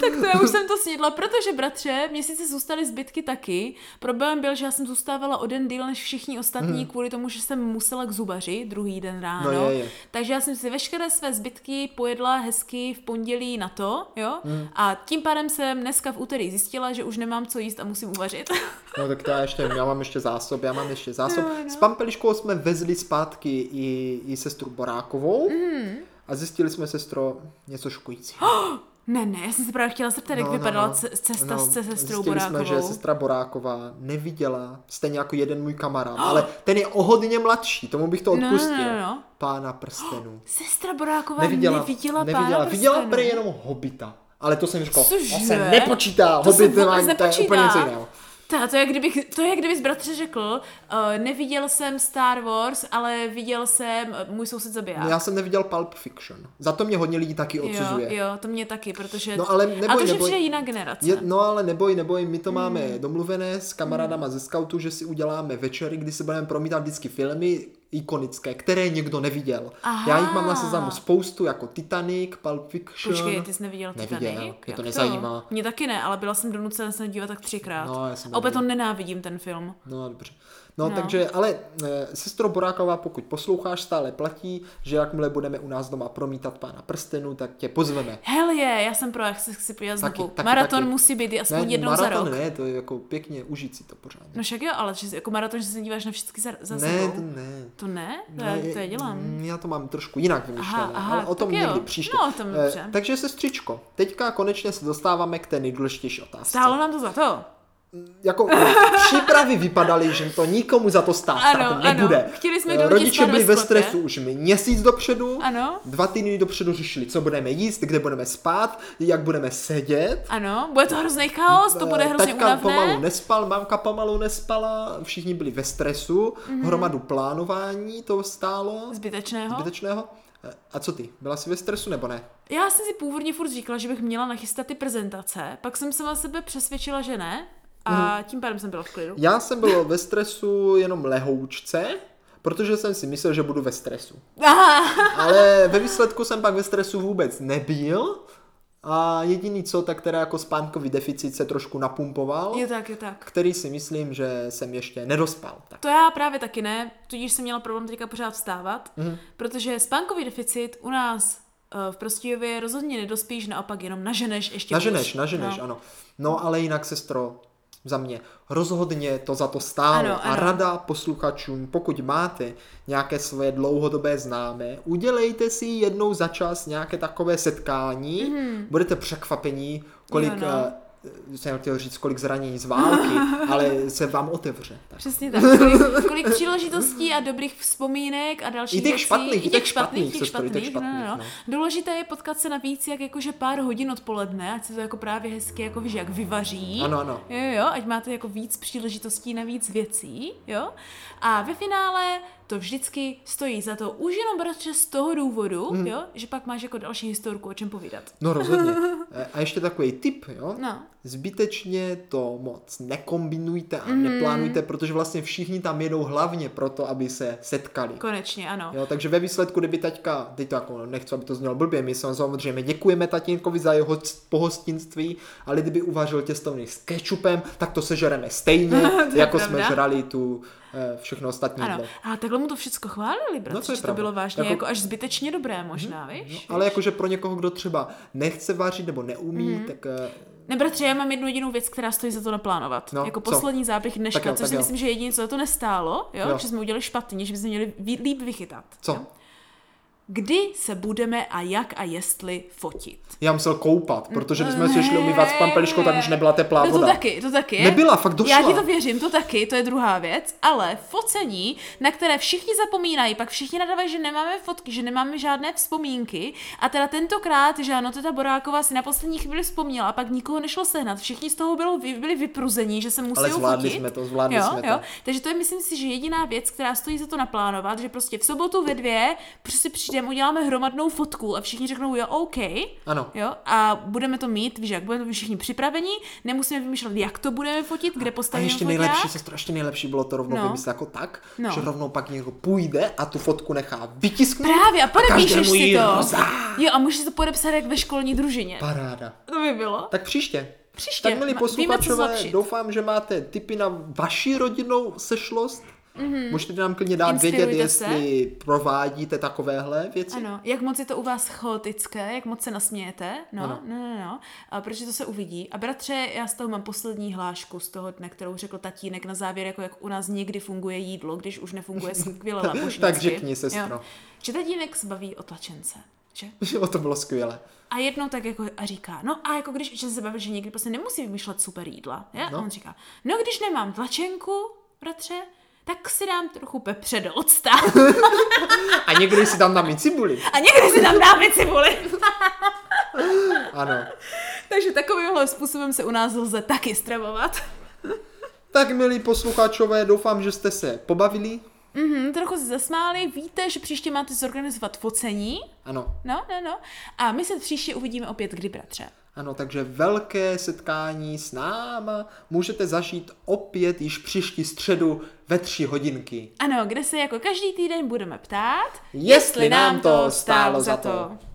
S2: Tak to já už jsem to snědla, protože bratře, mě sice zůstaly zbytky taky. Problém byl, že já jsem zůstávala o den díl než všichni ostatní kvůli tomu, že jsem musela k zubaři druhý den ráno.
S1: Mhm. No je, je.
S2: Takže já jsem si veškeré své zbytky pojedla hezky v pondělí na to, jo?
S1: Mhm.
S2: A tím pádem jsem dneska v úterý zjistila, že už nemám co jíst a musím uvařit.
S1: No tak to já ještě, já mám ještě zásob, já mám ještě zásob. S Pampeliškou jsme vezli zpátky i, i sestru Borákovou
S2: Mhm.
S1: a zjistili jsme sestro něco šokujícího.
S2: Ne, ne, já jsem se právě chtěla zeptat, jak
S1: No,
S2: vypadala ce- cesta no, se sestrou Borákovou.
S1: Zjistili jsme, že sestra Boráková neviděla, stejně jako jeden můj kamarád, ale ten je o hodně mladší, tomu bych to
S2: no,
S1: odpustil.
S2: no, no.
S1: Pána prstenů.
S2: Sestra Boráková
S1: Neviděla,
S2: neviděla, neviděla,
S1: neviděla.
S2: pána
S1: viděla
S2: prstenů.
S1: prý jenom hobita. Ale to jsem říkal,
S2: Cože?
S1: to se nepočítá,
S2: To se
S1: hobit
S2: vůbec
S1: má- to je
S2: nepočítá.
S1: úplně něco jiného.
S2: Ta, to, je, kdybych, to je, kdybys bratře řekl, uh, neviděl jsem Star Wars, ale viděl jsem eh, Můj soused zabiják.
S1: Já jsem neviděl Pulp Fiction. Za to mě hodně lidí taky
S2: jo,
S1: odsuzuje.
S2: jo, to mě taky, protože...
S1: No, ale
S2: a to
S1: neboj,
S2: už je
S1: neboj.
S2: přijde jiná generace.
S1: Je, no ale neboj, neboj, my to máme
S2: Hmm.
S1: domluvené s kamarádama ze scoutu, že si uděláme večery, kdy si budeme promítat vždycky filmy ikonické, které někdo neviděl.
S2: Aha.
S1: Já jich mám na seznamu spoustu, jako Titanic, Pulp Fiction.
S2: Počkej, ty jsi neviděla Titanic?
S1: Neviděl, mě to
S2: Jak
S1: nezajímá.
S2: Mě taky ne, ale byla jsem donucena se na ní dívat tak třikrát.
S1: No, já jsem
S2: A Opět
S1: neviděl.
S2: to nenávidím, ten film.
S1: No dobře. No, no takže, ale e, sestro Boráková, pokud posloucháš, stále platí, že jakmile budeme u nás doma promítat pána prstenu, tak tě pozveme.
S2: Hell je, yeah, já jsem pro, já chci, chci podívat
S1: Taky,
S2: znovu.
S1: taky,
S2: maraton
S1: taky.
S2: musí být aspoň
S1: ne,
S2: jednou
S1: maraton
S2: za rok.
S1: ne, to je jako pěkně, užít si to pořádně.
S2: No však jo, ale že, jako maraton, že se díváš na všechny za, za
S1: ne,
S2: sebou.
S1: to ne.
S2: To ne? To,
S1: Ne,
S2: já, No, to já dělám.
S1: mm, Já to mám trošku jinak vymyšlené,
S2: aha,
S1: ale o tom
S2: tak jo.
S1: někdy příště.
S2: No, o tom
S1: Eh,
S2: dobře.
S1: takže sestřičko, teďka konečně se dostáváme k té nejdůležitější otázce.
S2: Stálo nám to za to.
S1: Jako přípravy vypadaly, že to nikomu za to stát
S2: Ano,
S1: tak
S2: ano.
S1: nebude.
S2: Chtěli jsme
S1: Eh,
S2: do lidí
S1: Rodiče
S2: spát
S1: byli
S2: ve
S1: ve
S2: sklepě.
S1: stresu už měsíc dopředu.
S2: Ano.
S1: Dva týdny dopředu řešili, co budeme jíst, kde budeme spát, jak budeme sedět.
S2: Ano, bude to hrozný chaos, to bude
S1: Eh,
S2: hrozně
S1: Taťka pomalu
S2: únavné.
S1: nespal, mamka pomalu nespala, všichni byli ve stresu,
S2: Mhm.
S1: hromadu plánování to stálo.
S2: Zbytečného.
S1: Zbytečného? E, A co ty? Byla jsi ve stresu nebo ne?
S2: Já jsem si původně furt říkala, že bych měla nachystat ty prezentace, pak jsem sama sebe přesvědčila, že ne.
S1: Mhm.
S2: A tím pádem jsem byla v klidu.
S1: Já jsem byl ve stresu jenom lehoučce, protože jsem si myslel, že budu ve stresu. Ale ve výsledku jsem pak ve stresu vůbec nebyl. A jediný co, tak teda jako spánkový deficit se trošku napumpoval,
S2: Je tak, je tak.
S1: který si myslím, že jsem ještě nedospal. Tak.
S2: To já právě taky ne, tudíž jsem měla problém teďka pořád vstávat,
S1: Mhm.
S2: mm. protože spánkový deficit u nás eh, v Prostějově rozhodně nedospíš, naopak jenom naženeš ještě
S1: Naženeš,
S2: hůř.
S1: naženeš,
S2: no.
S1: ano. No ale jinak, sestro, za mě rozhodně to za to stálo.
S2: Ano,
S1: A
S2: ano.
S1: rada posluchačům, pokud máte nějaké své dlouhodobé známé, udělejte si jednou za čas nějaké takové setkání. Mm. Budete překvapení, kolik,
S2: Mhm. Jo, no.
S1: eh, jsem chtěl říct, kolik zranění z války, ale se vám otevře. Tak.
S2: Přesně tak. Kolik, kolik příležitostí a dobrých vzpomínek a dalších
S1: I těch
S2: věcí.
S1: špatných, i
S2: i
S1: těch
S2: těch špatných,
S1: špatných,
S2: těch
S1: sestro, i
S2: špatných,
S1: těch špatných,
S2: no, no, no. Důležité je potkat se navíc jak jakože pár hodin odpoledne, ať se to jako právě hezky jako víš, jak vyvaří.
S1: Ano, ano.
S2: Jo, jo, ať máte jako víc příležitostí na víc věcí, jo. A ve finále to vždycky stojí za to už jenom bratře z toho důvodu,
S1: Mhm.
S2: mm. jo, že pak máš jako další historku o čem povídat.
S1: No rozhodně. E, A ještě takový tip, jo?
S2: No.
S1: Zbytečně to moc nekombinujte a
S2: Mhm.
S1: neplánujte, protože vlastně všichni tam jedou hlavně proto, aby se setkali.
S2: Konečně, ano.
S1: Jo, takže ve výsledku, kdyby taťka, teď to jako nechci, aby to znělo blbě, my sam- samozřejmě děkujeme tatínkovi za jeho c- pohostinství, ale kdyby uvařil těstovny s kečupem, tak to sežereme stejně,
S2: je
S1: jako
S2: pravda.
S1: jsme žrali tu e, všechno ostatní
S2: Ano,
S1: jídlo.
S2: ale takhle mu to všechno chválili,
S1: No, to
S2: bratře,
S1: je
S2: že to
S1: pravda.
S2: bylo
S1: Jako-
S2: vážně
S1: Mhm. No,
S2: jako, jako až zbytečně dobré možná, víš?
S1: Ale jakože pro někoho, kdo třeba nechce vařit nebo neumí,
S2: Mhm.
S1: tak e,
S2: Ne, bratře, já mám jednu jedinou věc, která stojí za to naplánovat.
S1: No,
S2: No, jako
S1: co?
S2: poslední zápěch dneška,
S1: Tak jo,
S2: což
S1: tak
S2: si
S1: jo.
S2: myslím, že jediné, co za to nestálo, jo?
S1: Jo.
S2: jo. že jsme udělali špatně, že bychom měli ví- líp vychytat.
S1: co?
S2: Jo? Kdy se budeme a jak a jestli fotit?
S1: Já musel koupat, protože když jsme se šli umývat s pampeliškou, tak už nebyla teplá
S2: No to
S1: voda.
S2: taky, to taky.
S1: Nebyla, fakt došla.
S2: Já ti to věřím, to taky, to je druhá věc, ale focení, na které všichni zapomínají, pak všichni nadávají, že nemáme fotky, že nemáme žádné vzpomínky. A teda tentokrát, že ano, teta Boráková si na poslední chvíli vzpomněla, a pak nikoho nešlo sehnat. Všichni z toho bylo, byli vypruzení, že se musí
S1: Ale zvládli
S2: fotit.
S1: jsme to, zvládli
S2: jo,
S1: jsme to.
S2: jo. Takže to je, myslím si, že jediná věc, která stojí za to naplánovat, že prostě v sobotu ve dvě prostě přijdeme, uděláme hromadnou fotku a všichni řeknou, jo, OK.
S1: Ano.
S2: Jo, a budeme to mít, víš jak, budeme to mít všichni připraveni, nemusíme vymýšlet, jak to budeme fotit, kde
S1: A
S2: postavíme
S1: ještě
S2: foťák.
S1: nejlepší, sestro, ještě nejlepší bylo to rovnou no.
S2: jako No.
S1: vymyslet jako tak, no.
S2: No.
S1: že rovnou pak někdo půjde a tu fotku nechá vytisknout.
S2: Právě, a podepíšeš
S1: každému
S2: si
S1: ji
S2: to.
S1: rozdá.
S2: Jo, a můžeš si to podepsat jak ve školní družině.
S1: Paráda.
S2: To by bylo.
S1: Tak příště.
S2: Příště.
S1: Tak milí
S2: Ma- víme, co
S1: posluchačové,
S2: zlepšit.
S1: doufám, že máte tipy na vaši rodinnou sešlost. Mm-hmm. Můžete nám klidně dát
S2: Mhm. Inspirujte
S1: vědět,
S2: se.
S1: jestli provádíte takovéhle věci.
S2: Ano, jak moc je to u vás chaotické, jak moc se nasmějete, no,
S1: Ano.
S2: no, no, no, a protože to se uvidí. A bratře, já z toho mám poslední hlášku z toho dne, kterou řekl tatínek na závěr, jako jak u nás někdy funguje jídlo, když už nefunguje skvěle labušnicky.
S1: Tak řekni, sestro.
S2: Jo. Že tatínek se baví o tlačence, že?
S1: O to bylo skvěle.
S2: A jednou tak jako a říká, no a jako když že se bavil, že někdy prostě nemusí vymýšlet super jídla, je?
S1: No.
S2: A on říká, no když nemám tlačenku, bratře, tak si dám trochu pepře do octa
S1: A někdy si tam dám i cibuli.
S2: a někdy si tam dáme cibuli.
S1: Ano.
S2: Takže takovýmhle způsobem se u nás lze taky stravovat.
S1: Tak, milí posluchačové, doufám, že jste se pobavili.
S2: Mhm, trochu se zasmáli, víte, že příště máte zorganizovat focení.
S1: Ano,
S2: No, no, no. A my se příště uvidíme opět kdy, bratře.
S1: ano, takže velké setkání s náma můžete zažít opět již příští středu ve tři hodinky.
S2: Ano, kde se jako každý týden budeme ptát,
S1: Jestli nám to stálo za to.